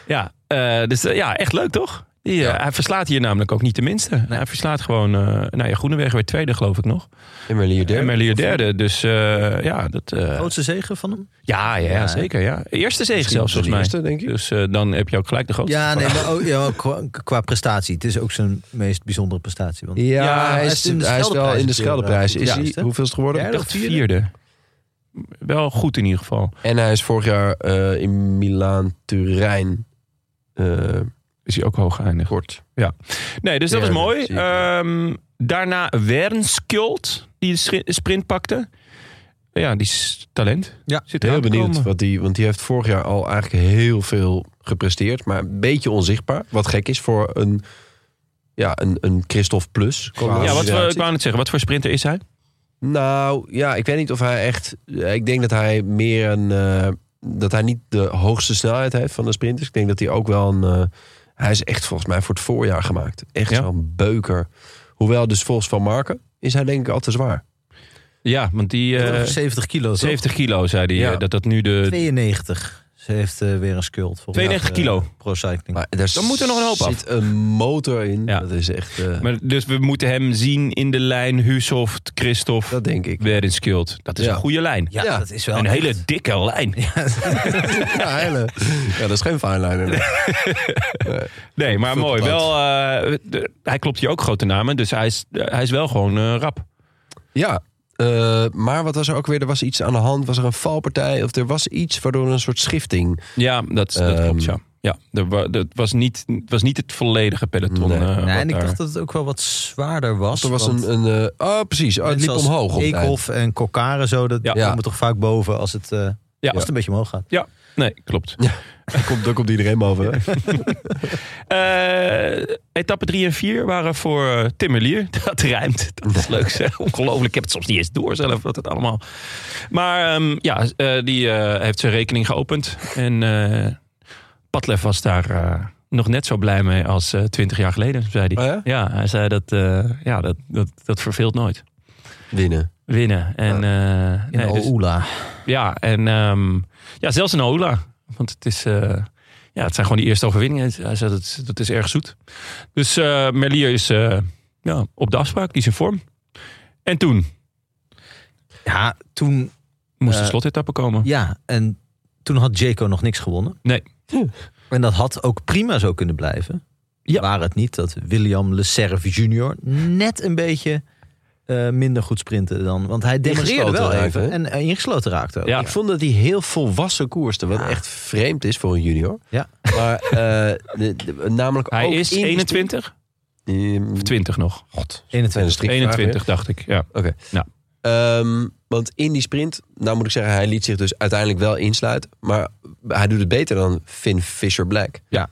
ja, eh, dus, eh, ja, echt leuk toch? Die, eh, Hij verslaat hier namelijk ook niet de minste. Hij verslaat gewoon... eh nou ja, Groenewegen werd tweede geloof ik nog. En Merlier derde. En Merlier derde. Dus eh, ja, dat... eh, Grootste zegen van hem? ja, ja, ja, Ja, hè? zeker. Ja. Eerste zege zelfs de volgens mij. eerste, denk ik. Dus eh, dan heb je ook gelijk de grootste. Ja, nou, nee, maar ook, ja, maar qua, qua prestatie. Het is ook zijn meest bijzondere prestatie. Want Ja, hij, hij is, is in de hij is wel Scheldeprijs in de een keer, Scheldeprijs. eh, Is goed hij geweest, hè? hoeveel is het geworden? Ik dacht vierde. Wel goed in ieder geval. En hij is vorig jaar eh, in Milaan-Turijn eh Is hij ook hoog geëindigd. kort. Nee, dus dat Ja, was dat mooi. zie ik, ja. Ehm, daarna Wernskjold, die de schri- sprint pakte. Ja, die is talent. Ja. Zit Heel eraan te benieuwd. komen. Wat die, want die heeft vorig jaar al eigenlijk heel veel gepresteerd. Maar een beetje onzichtbaar. Wat gek is voor een, ja, een, een Christophe Plus. qua Ja, wat voor, ik situatie. wou net zeggen, wat voor sprinter is hij? Nou, ja, ik weet niet of hij echt... Ik denk dat hij meer een... eh, dat hij niet de hoogste snelheid heeft van de sprinters. Ik denk dat hij ook wel een... eh, hij is echt volgens mij voor het voorjaar gemaakt. Echt Ja. zo'n beuker. Hoewel dus volgens Van Marken is hij denk ik al te zwaar. Ja, want die eh, Terug 70 kilo. toch? 70 kilo, zei hij. Ja. eh, Dat dat nu de... 92. Ze heeft eh, weer een schuld. volgens 92 mij, kilo. eh, Pro Cycling. Maar daar Dan moet er nog een hoop zit af. een motor in. Ja. Dat is echt... eh, Maar, dus we moeten hem zien in de lijn Husoft, Christophe, dat denk ik. Wernskjold. Dat is Ja. een goede lijn. ja, ja. dat is wel een echt- hele dikke lijn. Ja, hele. ja, dat is geen fineliner. Nee, maar Veel mooi. te laat. Wel, eh, de- hij klopt hier ook grote namen, dus hij is, hij is wel gewoon eh, rap. Ja, eh, maar wat was er ook weer? Er was iets aan de hand. Was er een valpartij? Of er was iets waardoor er een soort schifting... Ja, dat, dat Ehm. klopt, ja. Ja, er wa- dat was niet, het was niet het volledige peloton. Nee. eh, Nee, wat nee, en ik daar- dacht dat het ook wel wat zwaarder was. Er was want een... een eh, oh, precies. Oh, het mensen liep als omhoog. op het eind. Eekhoff en Kokaren zo, dat Ja. komen toch vaak boven als het, eh, Ja. als het een beetje omhoog gaat. Nee, klopt. Daar komt, daar komt iedereen boven. hè? Eh etappe 3 en 4 waren voor eh, Tim Merlier. Dat rijmt. Dat is leuk zeg. Ongelooflijk. Ik heb het soms niet eens door zelf wat het allemaal... Maar ehm, ja, eh, die eh, heeft zijn rekening geopend. En eh Patlev was daar eh, nog net zo blij mee als eh, twintig jaar geleden, zei hij. Oh ja? Ja, hij zei dat, eh, ja, dat, dat, dat verveelt nooit. Winnen. Winnen. En, eh, In nee, dus- Oula. ja, en ehm, ja, zelfs in Ola. Want het, is, eh, ja, het zijn gewoon die eerste overwinningen. Hij zei, dat, is- dat is erg zoet. Dus eh, Merlier is eh, ja, op de afspraak, die is in vorm. En toen Ja, toen, moest Eh, de slotetappe komen. ja, en toen had Jaco nog niks gewonnen. Nee. En dat had ook prima zo kunnen blijven. Ja. Waar het niet dat William Le Serve junior net een beetje eh, minder goed sprintte dan. Want hij demareerde Ingesloten wel raakte, even hè? en eh, ingesloten raakte ook. Ja. Ik vond dat hij heel volwassen koerste. Wat Ja. echt vreemd is voor een junior. Ja. Maar eh, de- de- namelijk Hij ook is in- 21 Ehm, of 20 nog. God. 21. Strikvraag, hè? 21 dacht ik, ja. Ehm, want in die sprint, nou moet ik zeggen, hij liet zich dus uiteindelijk wel insluiten. Maar hij doet het beter dan Finn Fisher Black. Ja.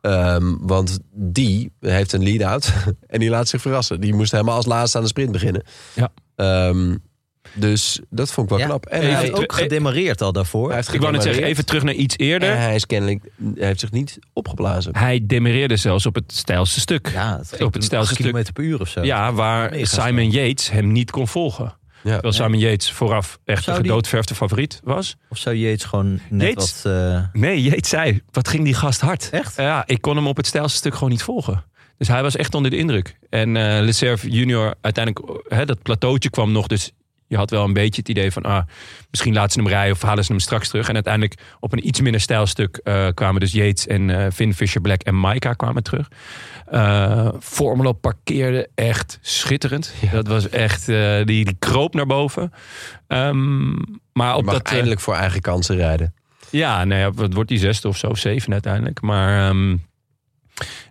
Ehm, want die heeft een lead-out en die laat zich verrassen. Die moest helemaal als laatste aan de sprint beginnen. Ja. Ehm, dus dat vond ik wel Ja. knap. En En hij hij, heeft Even- ook gedemareerd al daarvoor. hij heeft Ik wou net zeggen, gedemareerd. even terug naar iets En eerder. hij is kennelijk, hij heeft zich niet opgeblazen. Hij demereerde zelfs op het stijlste stuk. Ja, ja, het op het stijlste stuk. kilometer per uur of zo. waar Mega Simon Yates hem niet kon volgen. Ja. Terwijl Simon Yates vooraf echt een Zou die- gedoodverfde favoriet was. Of zou Jeets gewoon net Yates? wat... eh, Nee, Jeet zei, wat ging die gast hard. Echt? Ja, ik kon hem op het stijlste stuk gewoon niet volgen. Dus hij was echt onder de indruk. En eh Le Cerf junior, uiteindelijk, hè, dat plateautje kwam nog. Dus je had wel een beetje het idee van, ah, misschien laten ze hem rijden of halen ze hem straks terug. En uiteindelijk op een iets minder stijl stuk eh, kwamen dus Yates en eh Finn Fisher-Black en Maika kwamen terug. Eh Formelo parkeerde echt schitterend. Dat was echt, eh, die, die kroop naar boven. Ehm, maar Hij op mag dat... eh, eindelijk voor eigen kansen rijden. ja, nou ja, wat wordt die zesde of zo, zeven uiteindelijk. Maar ehm,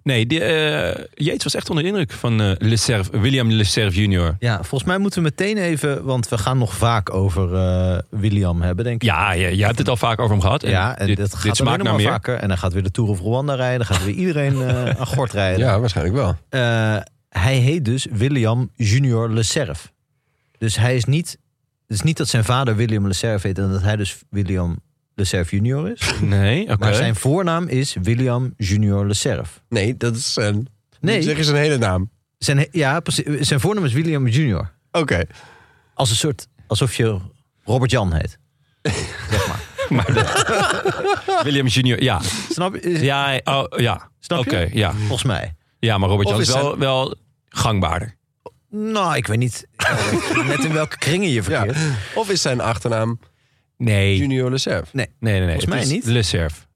nee, die, eh, Yates was echt onder de indruk van eh, Le Cerf, William Le Cerf junior. Ja, volgens mij moeten we meteen even, want we gaan nog vaak over eh, William hebben, denk ik. Ja, je, je hebt het al vaak over hem gehad. En Ja, en dit, dat dit gaat alleen smaakt nog naar maar meer. vaker. En dan gaat weer de Tour of Rwanda rijden. Dan gaat weer iedereen eh aan gort rijden. Ja, waarschijnlijk wel. Eh, hij heet dus William Junior Le Serf. Dus hij is niet... Het is niet dat zijn vader William Le Serf heet... en dat hij dus William Le Serf Junior is. Nee, oké. Maar zijn voornaam is William Junior Le Serf. Nee, dat is zijn... Nee. Zeg eens een hele naam. Zijn, he- ja, precies, zijn voornaam is William Junior. Oké. Als een soort... Alsof je Robert Jan heet. Maar dat- William junior, ja. Snap je? Ja, oh, ja. Snap oké. je? ja. Volgens mij. ja, maar Robert Of Jan is is wel, wel gangbaarder. Nou, ik weet niet met in welke kringen je Ja. verkeert. Of is zijn achternaam Nee, nee, Junior Le Cerf? nee. nee. Volgens mij Het is niet. Le Cerf.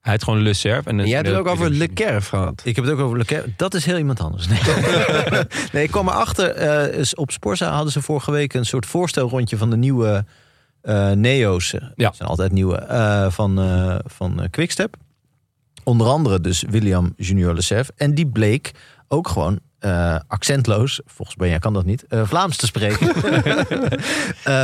Hij heet gewoon Le Cerf. En dan- En jij hebt het ook over William Le Junior. Cerf gehad. Ik heb het ook over Le Ker- Dat is heel iemand anders. Nee, nee ik kwam erachter. eh, is op Sporza hadden ze vorige week een soort voorstelrondje van de nieuwe eh, Neo's. Ja. Dat zijn altijd nieuwe. eh, van eh van eh, Quickstep. Onder andere dus William Junior Lesef. En die bleek ook gewoon eh, accentloos, volgens Benja kan dat niet, eh, Vlaams te spreken. Eh,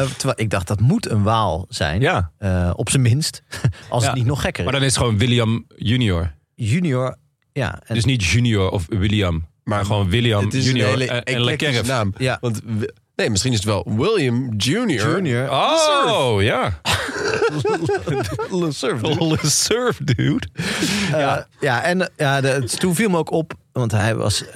terwijl ik dacht, dat moet een Waal zijn. Ja, Eh, op zijn minst. Als Ja, het niet nog gekker is. maar dan is het gewoon William junior. Junior, ja. En, Dus niet junior of William. Maar gewoon William Het is junior eh, een hele en- en Le eclectische Kerf. naam. ja. Want, we- nee, misschien is het wel William Junior. Junior. Oh, ja. Le Cerf. Olle surf, dude. ja. ja, en eh, ja, de- het- toen viel me ook op, want hij was. eh,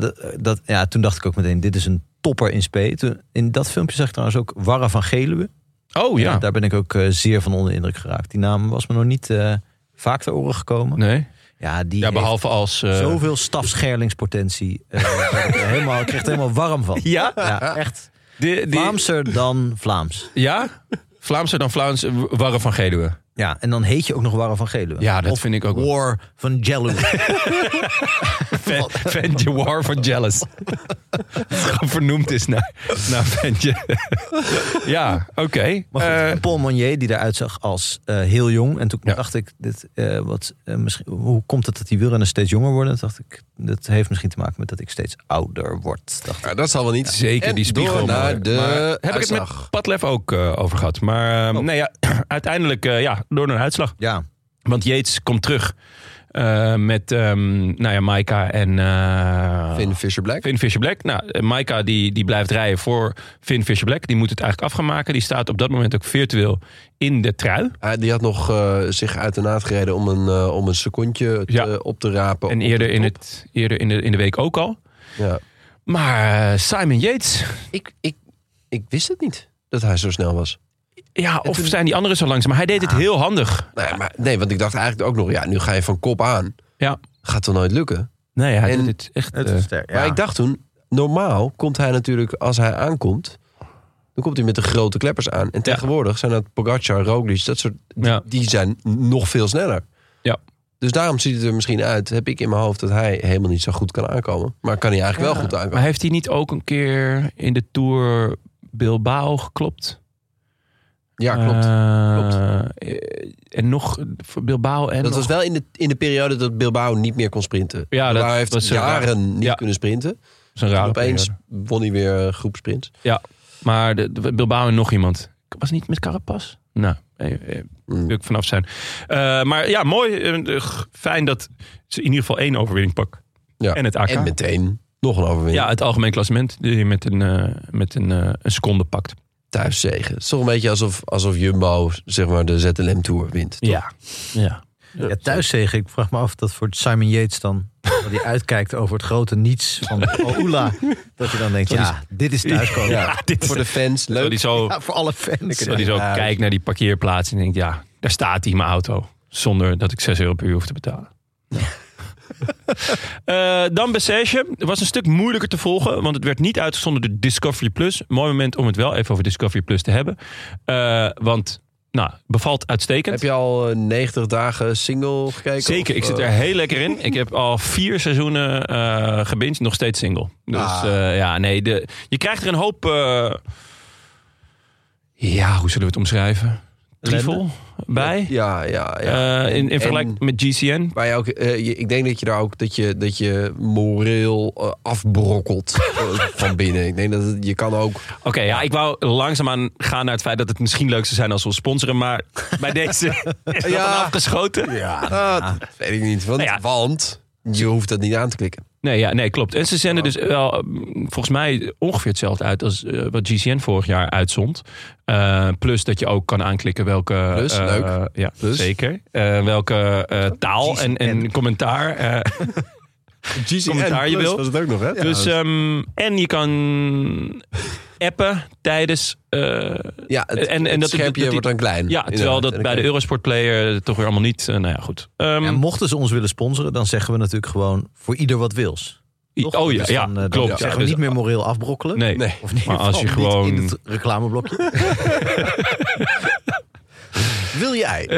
de- dat, ja, toen dacht ik ook meteen: dit is een topper in spe. Toen, in dat filmpje zag ik trouwens ook Warra van Geluwe. Oh, ja. Daar ben ik ook eh, zeer van onder de indruk geraakt. Die naam was me nog niet eh, vaak ter oren gekomen. Nee. Ja, die Ja, heeft behalve als... eh, zoveel stafscherlingspotentie. eh, dat ik er helemaal, ik kreeg er helemaal warm van. Ja? Ja, echt. de, die- Vlaamser dan Vlaams. Ja? Vlaamser dan Vlaams, eh, Warren van Geluwe. Ja, en dan heet je ook nog Warren van Geluwe. Ja, dat Of vind ik ook wel. War van Jello. Van, van Jawar van Jealous. Dat gewoon vernoemd is naar, naar Van Je- Ja, oké. Maar goed, Eh, en Paul Monnier, die eruit zag als eh, heel jong. En toen Ja. dacht ik, dit, eh, wat, eh, misschien, hoe komt het dat die wielrenners steeds jonger worden? Toen dacht ik, dat heeft misschien te maken met dat ik steeds ouder word. Dacht ik. Ja, dat zal wel niet. Zeker En die spiegel. door maar- naar de maar heb ik het uitslag. met Padlef ook eh, over gehad. Maar eh, nee, ja, uiteindelijk eh, ja, door naar een uitslag. Ja, Want Yates komt terug eh, met ehm, nou ja, Maika en eh, Finn Fisher Ah. Black. Finn Fisher-Black. Nou, eh, Maika die, die blijft rijden voor Finn Fisher-Black. Die moet het eigenlijk af gaan maken. Die staat op dat moment ook virtueel in de trui. Ah, die had nog eh, zich uit de naad gereden om een, eh, om een secondje te- Ja. op te rapen. En op eerder, de in, top. het, eerder in, de, in de week ook al. Ja. Maar eh, Simon Yates, Ik, ik, ik wist het niet dat hij zo snel was. ja, of zijn die anderen zo langzaam? Maar hij deed het heel handig. Nee, Nou maar, nee, want ik dacht eigenlijk ook nog, ja, nu ga je van kop aan. Ja. Gaat wel nooit lukken. Nee, hij En- deed het echt... het eh, is sterk. Maar ja. ik dacht toen, normaal komt hij natuurlijk, als hij aankomt, dan komt hij met de grote kleppers aan. En tegenwoordig zijn dat Pogacar, Roglic, dat soort, ja. die zijn nog veel sneller. Ja. Dus daarom ziet het er misschien uit, heb ik in mijn hoofd, dat hij helemaal niet zo goed kan aankomen. Maar kan hij eigenlijk wel goed aankomen. Maar heeft hij niet ook een keer in de Tour Bilbao geklopt? Ja, klopt. klopt. Eh, En nog voor Bilbao en dat nog- was wel in de, in de periode dat Bilbao niet meer kon sprinten. Ja, dat Bilbao heeft was een raar- jaren niet ja. kunnen sprinten. zo'n En rare opeens periode. won hij weer eh, groepsprints. Maar de, de- Bilbao en nog iemand. Was het niet met Carapas? Nou, eh, eh, Mm. wil ik vanaf zijn. Eh, maar ja, mooi. eh, g- Fijn dat ze in ieder geval één overwinning pakken. Ja. En het AK. En meteen nog een overwinning. ja, het algemeen klassement die je met een, eh, met een, eh, een seconde pakt. Thuiszegen. Het is toch een beetje alsof, alsof Jumbo zeg maar, de ZLM Tour wint. Ja. ja. Ja, thuis zeg ik, vraag me af of dat voor Simon Yates dan, dat hij uitkijkt over het grote niets van Oula, dat je dan denkt, ja, dit is thuiskomen. Ja. dit is Voor de fans, Zo leuk. die zo, voor alle fans. zo, die zo Ja. kijkt naar die parkeerplaats en denkt, ja, daar staat hij mijn auto. Zonder dat ik 6 euro per uur hoef te betalen. Eh, dan Bessage. was een stuk moeilijker te volgen, want het werd niet uitgezonden door Discovery Plus. Mooi moment om het wel even over Discovery Plus te hebben. Eh, want, nou, bevalt uitstekend. Heb je al eh, 90 dagen single gekeken? Zeker, Of, ik zit er eh, heel lekker in. Ik heb al vier seizoenen eh gebinged, nog steeds single. Dus Ah. eh, ja, nee, de, je krijgt er een hoop... eh, ja, hoe zullen we het omschrijven? Trifel bij. Ja, ja, ja. Eh, in, in En- vergelijking met GCN. Waar je ook, eh, je- ik denk dat je daar ook dat je, dat je moreel eh, afbrokkelt eh, van binnen. Ik denk dat het- je kan ook. Oké, ja, ik wou langzaamaan gaan naar het feit dat het misschien leuk zou zijn als we ons sponsoren. Maar bij deze is dat Ja. dan afgeschoten. Ah, dat weet ik niet. Want, Nou ja. want je hoeft dat niet aan te klikken. Nee, ja, nee, klopt. En ze zenden dus wel, eh, volgens mij ongeveer hetzelfde uit als eh, wat GCN vorig jaar uitzond. Eh, plus dat je ook kan aanklikken welke... Plus, eh, leuk. Ja, Plus. zeker. Eh, welke eh, taal en, en commentaar. eh, Commentaar je wil. was het ook nog, hè? dus, ehm, en je kan appen tijdens... eh, ja, het, en- en het dat- dat schermpje die- wordt dan klein. ja, terwijl Inderdaad. dat En dan bij de kan je- Eurosport Player toch weer allemaal niet... eh, nou ja, goed. Ehm, En mochten ze ons willen sponsoren, dan zeggen we natuurlijk gewoon voor ieder wat wils. Toch? oh ja, Dus ja dan, eh, dan klopt. zeggen we Dus- niet meer moreel afbrokkelen. Nee. Nee. Of in ieder Maar geval als je niet gewoon- in het reclameblokje. Wil jij?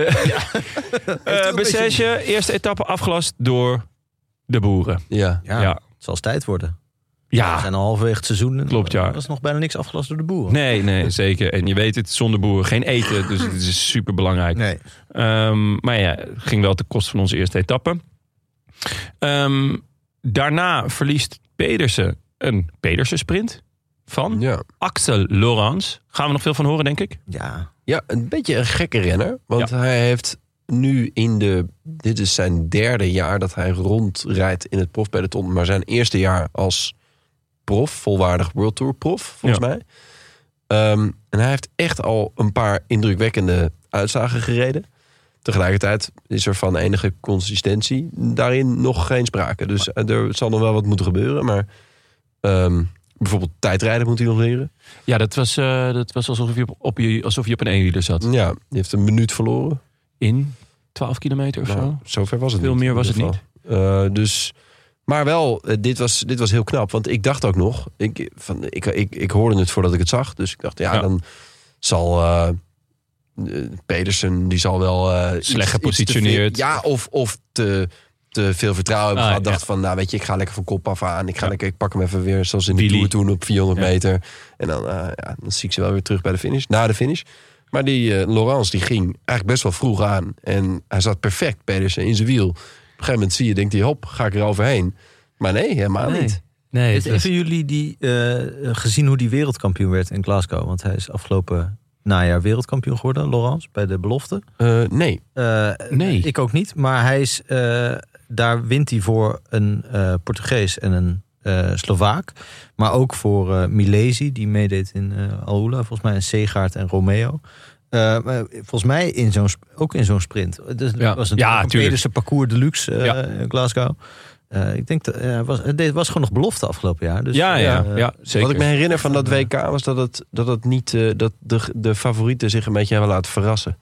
Eh Bessèges, eerste etappe afgelast door de boeren. Ja. ja, ja. het zal eens tijd worden. We Ja, zijn al halverwege het seizoen. en Ah. Klopt, ja. Er is nog bijna niks afgelast door de boeren. Nee, nee, zeker. En je weet het, zonder boeren geen eten. Dus het is super belangrijk. Nee. maar ja, het ging wel ten koste van onze eerste etappe. Ehm, daarna verliest Pedersen een Pedersen-sprint van Ja. Axel Laurens. Gaan we nog veel van horen, denk ik. Ja. ja, een beetje een gekke renner. Want hij heeft nu in de... Dit is zijn derde jaar dat hij rondrijdt in het profpeloton. Maar zijn eerste jaar als prof, volwaardig World Tour prof, volgens mij. Ehm, en hij heeft echt al een paar indrukwekkende uitslagen gereden. Tegelijkertijd is er van enige consistentie daarin nog geen sprake. Dus eh, er zal nog wel wat moeten gebeuren. Maar ehm, bijvoorbeeld tijdrijden moet hij nog leren. Ja, dat was, eh, dat was alsof, je op, op je, alsof je op een eenwieler zat. Ja, die heeft een minuut verloren. In 12 kilometer of Nou, zo. zover was het Veel niet. meer in was ieder het geval. Eh, dus, maar wel, eh, dit, was, dit was heel knap. Want ik dacht ook nog, ik, van, ik, ik, ik hoorde het voordat ik het zag. Dus ik dacht, ja, Ja. dan zal eh, eh, Pedersen, die zal wel... eh, iets- iets te gepositioneerd. veel- ja, of, of te, te veel vertrouwen hebben Ah, gehad. ja. Dacht van, nou weet je, ik ga lekker van kop af aan. Ik, ga Ja. lekker, ik pak hem even weer, zoals in de Willy. Tour toen op 400 Ja. meter. En dan, eh, ja, dan zie ik ze wel weer terug bij de finish, na de finish. Maar die eh Laurence, die ging eigenlijk best wel vroeg aan. En hij zat perfect, Pedersen, in zijn wiel. Op een gegeven moment zie je, denkt hij, hop, ga ik er overheen. Maar nee, helemaal Nee. niet. Nee, Heeft het is- Hebben jullie die, eh, gezien hoe die wereldkampioen werd in Glasgow? Want hij is afgelopen najaar wereldkampioen geworden, Laurence, bij de belofte. Eh, nee. Eh, Nee. Ik ook niet, maar hij is, eh, daar wint hij voor een eh, Portugees en een eh, Slovaak. Maar ook voor eh Milesi, die meedeed in eh Alula. Volgens mij en Segaard en Romeo. Eh, maar volgens mij in zo'n, sp- ook in zo'n sprint. Dus Ja. ja. was Ja, natuurlijk een tuurlijk. Pedersen parcours deluxe eh, Ja. in Glasgow. Eh, ik denk dat eh, hij was, het was gewoon nog belofte afgelopen jaar. Dus, ja, ja, eh, ja, zeker. Wat ik me herinner van dat WK was dat het, dat het niet eh, dat de, de favorieten zich een beetje hebben laten verrassen.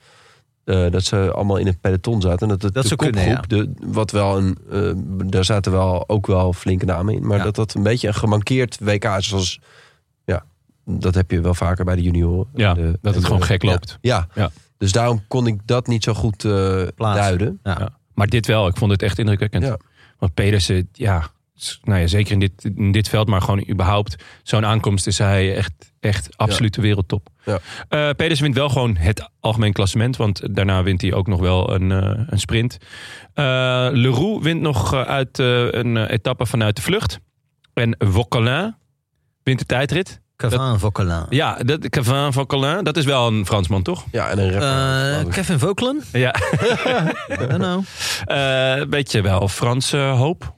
Eh, dat ze allemaal in het peloton zaten. En dat, het, Dat de zou kunnen, kopgroep, de, wat wel een, eh, daar zaten wel ook wel flinke namen in. Maar Ja. dat dat een beetje een gemankeerd WK is. Zoals, ja, dat heb je wel vaker bij de junioren. ja, De- dat en het gewoon de- gek loopt. Ja. Ja. dus daarom kon ik dat niet zo goed eh, duiden. Ja. Ja. Maar dit wel, ik vond het echt indrukwekkend. Ja. Want Pedersen, ja, s- nou ja, zeker in dit, in dit veld, maar gewoon überhaupt. Zo'n aankomst is hij echt, echt absolute wereldtop. Ja. Eh, Pedersen wint wel gewoon het algemeen klassement. Want daarna wint hij ook nog wel een, eh, een sprint. Eh Leroux wint nog eh, uit eh, een eh, etappe vanuit de vlucht. En Vauquelin wint de tijdrit. Cavin Vauquelin. Ja, dat, Cavin Vauquelin, dat is wel een Fransman, toch? Ja, en een Eh, rapper. Kevin Vauquelin? Ja. I don't know. Eh, weet je wel, Franse hoop,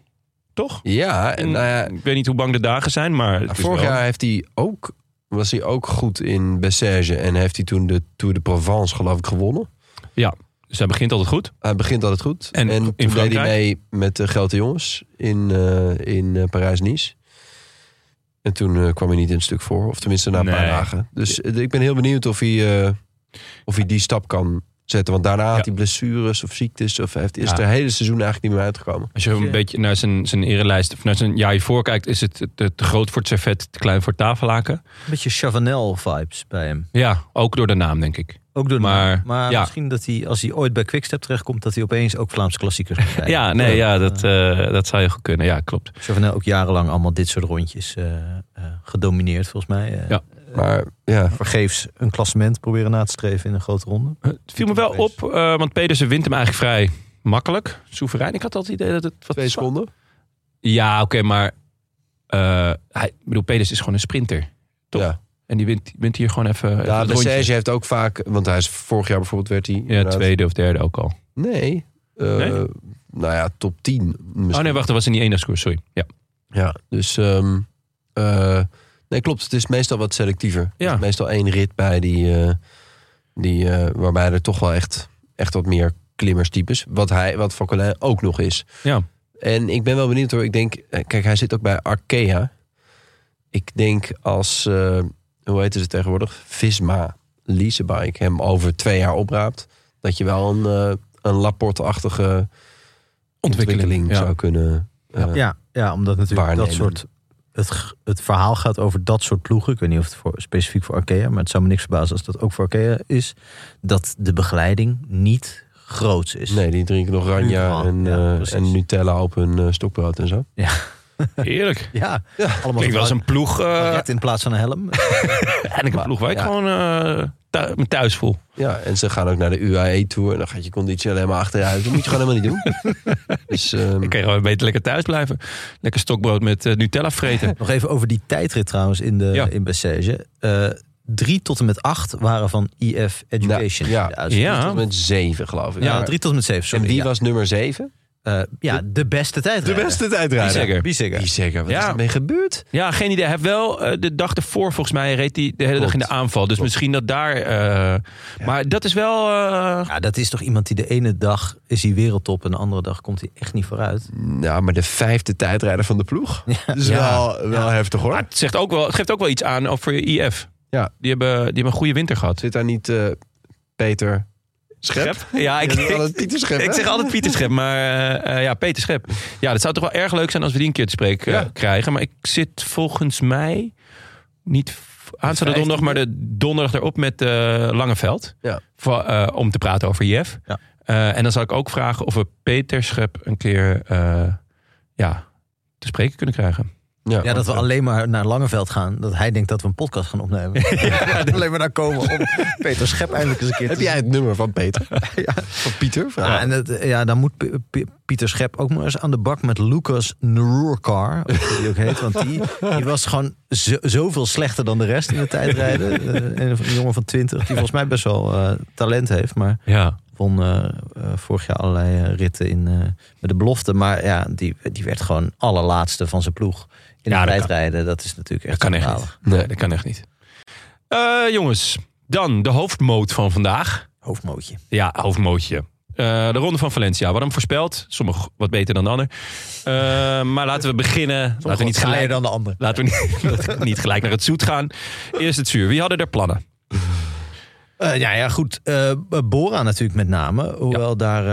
toch? ja, en nou ja, ik weet niet hoe bang de dagen zijn, maar het Nou, is vorig wel- jaar heeft hij ook, was hij ook goed in Bessège. En heeft hij toen de Tour de Provence, geloof ik, gewonnen. Dus hij begint altijd goed. Hij begint altijd goed. En in toen deed hij Frankrijk? mee met de grote jongens in, eh, in eh, Parijs-Nice. En toen eh, kwam hij niet in het stuk voor. Of tenminste na een paar Nee. dagen. Dus eh, ik ben heel benieuwd of hij, eh, of hij die stap kan zetten. Want daarna had hij blessures of ziektes. Of hij heeft, is Ja. het hele seizoen eigenlijk niet meer uitgekomen. Als je een Ja. beetje naar zijn, zijn erelijst of naar zijn jaar hiervoor kijkt, is het te, te groot voor het servet, te klein voor het tafellaken. Een beetje Chavanel-vibes bij hem. Ja, ook door de naam, denk ik. Ook door de Maar, naam. maar ja. misschien dat hij, als hij ooit bij Quickstep terechtkomt, dat hij opeens ook Vlaams klassiekers gaat rijden. Ja, nee, ja, dat, eh, dat zou je goed kunnen. Ja, klopt. Chavanel ook jarenlang allemaal dit soort rondjes eh, eh, gedomineerd, volgens mij. Eh, Ja. Maar ja, Vergeefs een klassement proberen na te streven in een grote ronde. Het viel me wel op, eh, want Pedersen wint hem eigenlijk vrij makkelijk. Soeverein. Ik had altijd het idee dat het wat twee zwa- seconden. Ja, oké, maar eh, hij, ik bedoel, Pedersen is gewoon een sprinter. Toch? Ja. En die wint, wint hier gewoon even. even Ja, het rondje. Bessège heeft ook vaak... Want hij is vorig jaar bijvoorbeeld werd hij... Ja, inderdaad- tweede of derde ook al. Nee. Eh, Nee? Nou ja, top 10 misschien. Oh nee, wacht, dat was in die eendagskoers, sorry. Ja. Ja, dus... ehm, eh, nee, klopt. Het is meestal wat selectiever. Er Ja. is meestal één rit bij die... eh, die eh, waarbij er toch wel echt, echt wat meer klimmerstypes... Wat, hij, wat Fauquelin ook nog is. Ja. En ik ben wel benieuwd hoor. Ik denk... eh, Kijk, hij zit ook bij Arkea. Ik denk als... eh, hoe heet het tegenwoordig? Visma leasebike hem over twee jaar opraapt... dat je wel een, eh een Laporte-achtige ontwikkeling, zou kunnen. eh, Ja, ja, omdat natuurlijk Waarnemen. dat soort... Het, g- het verhaal gaat over dat soort ploegen. Ik weet niet of het voor, specifiek voor Arkea, maar het zou me niks verbazen als dat ook voor Arkea is. Dat de begeleiding niet groots is. Nee, die drinken nog Ranja Hugo, en, ja, eh, precies. en Nutella op hun eh, stokbrood en zo. Heerlijk. Ja, allemaal Klinkt wel eens een ploeg. eh Red in plaats van een helm. en ik een ploeg waar ik ja. gewoon eh, thu- me thuis voel. Ja, en ze gaan ook naar de UAE-tour en dan gaat je conditie alleen maar achteruit. Dat moet je gewoon helemaal niet doen. Dus ehm, Ik kan gewoon beter lekker thuis blijven. Lekker stokbrood met eh, Nutella vreten. Nog even over die tijdrit trouwens in, de, Ja. in Bessège. Eh, drie tot en met acht waren van IF Education. Nou, ja. De uitslag. Ja. tot met zeven, geloof ik. Ja, Maar- drie tot en met zeven, sorry. en wie ja. was nummer zeven? Eh, ja, de beste tijdrit. tijdrijder. Biesegger. Die Biesegger. zeker. Wat Ja. is daarmee gebeurd? Ja, geen idee. Hij heeft wel eh, de dag ervoor, volgens mij, reed hij de hele dag in de aanval. Dus misschien dat daar... eh, Maar dat is wel... eh, Ja, dat is toch iemand die de ene dag is hij wereldtop... en de andere dag komt hij echt niet vooruit. Nou, maar de vijfde tijdrijder van de ploeg. Dat is wel, wel heftig hoor. maar het, zegt ook wel, het geeft ook wel iets aan over IF. Ja. Die, hebben, die hebben een goede winter gehad. Zit daar niet eh, Peter Schep? Ja, ik, Je zegt altijd Pieter Schep, ik hè? zeg altijd Pieter Schep, maar eh, eh, ja, Peter Schep. Ja, dat zou toch wel erg leuk zijn als we die een keer te spreken eh, Ja. krijgen. Maar ik zit volgens mij niet aanstaande donderdag, maar de donderdag erop met eh, Langeveld. Ja. Va- eh, om te praten over Jef. Ja. Eh, en dan zal ik ook vragen of we Peter Schep een keer eh, ja, te spreken kunnen krijgen. Ja, dat we eh, alleen maar naar Langeveld gaan. Dat hij denkt dat we een podcast gaan opnemen. alleen maar naar komen om Peter Schep eindelijk eens een keer Heb te jij het nummer van Peter? Van Pieter? Ja, en het, ja, dan moet P- P- Pieter Schep ook maar eens aan de bak met Lucas Nururkar. of hoe die ook heet. Want die, die was gewoon zo, zoveel slechter dan de rest in de tijdrijden. Eh, een een jongen van 20, die volgens mij best wel eh, talent heeft. Maar Ja. won eh, eh, vorig jaar allerlei eh, ritten in, eh, met de belofte. Maar ja, die, die werd gewoon allerlaatste van zijn ploeg. In Ja, het dat kan. tijdrijden, dat is natuurlijk echt Dat kan echt schandalig. niet. Nee, dat kan echt niet. Eh, jongens, dan de hoofdmoot van vandaag. Hoofdmootje. Ja, hoofdmootje. Eh, de Ronde van Valencia. We hadden hem voorspeld. Sommige wat beter dan de ander. Eh, maar laten we beginnen. laten we niet Wat saaier gelijk, dan de ander. laten we niet, niet gelijk naar het zoet gaan. Eerst het zuur. Wie hadden er plannen? Eh, ja, ja, goed. eh Bora natuurlijk met name. Hoewel daar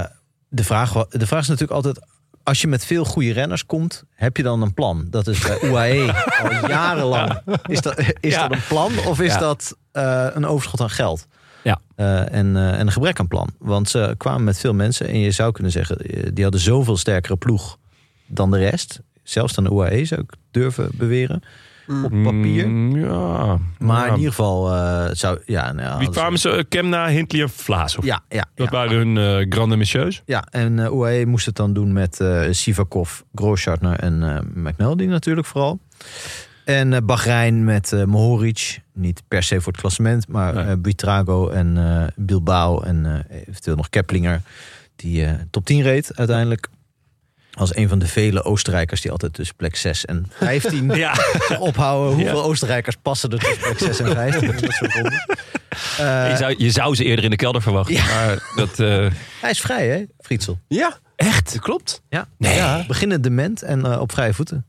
eh, de, vraag, wa- de vraag is natuurlijk altijd... Als je met veel goede renners komt, heb je dan een plan? Dat is bij UAE al jarenlang. Is, dat, is Ja. dat een plan of is Ja. dat eh, een overschot aan geld? Ja. Eh, en, eh, en een gebrek aan plan. Want ze kwamen met veel mensen en je zou kunnen zeggen... eh, die hadden zoveel sterkere ploeg dan de rest. Zelfs dan de UAE zou ik durven beweren. Op papier. Mm, ja. Maar Ja. in ieder geval eh, het zou... Ja, nou, ja, Wie hadden ze- kwamen ze? Kemna, Hindley en Vlaas. of- Ja, ja, Dat ja. waren hun eh grande messieurs. Ja, en eh UAE moest het dan doen met eh Sivakov, Grosjartner en eh McNulty natuurlijk vooral. En eh, Bahrein met eh Mohoric. Niet per se voor het klassement, maar Nee. eh Buitrago en eh, Bilbao en eh, eventueel nog Keplinger. Die eh, top 10 reed uiteindelijk. Als een van de vele Oostenrijkers die altijd tussen plek 6 en 15 Ja. ophouden. Hoeveel Ja. Oostenrijkers passen er tussen plek 6 en 15? in dat soort rondes? Eh, Je zou, je zou ze eerder in de kelder verwachten. Maar dat, eh, hij is vrij, hè, Frietsel? Ja, echt? dat klopt. Ja, Nee. ja beginnen dement en eh, op vrije voeten.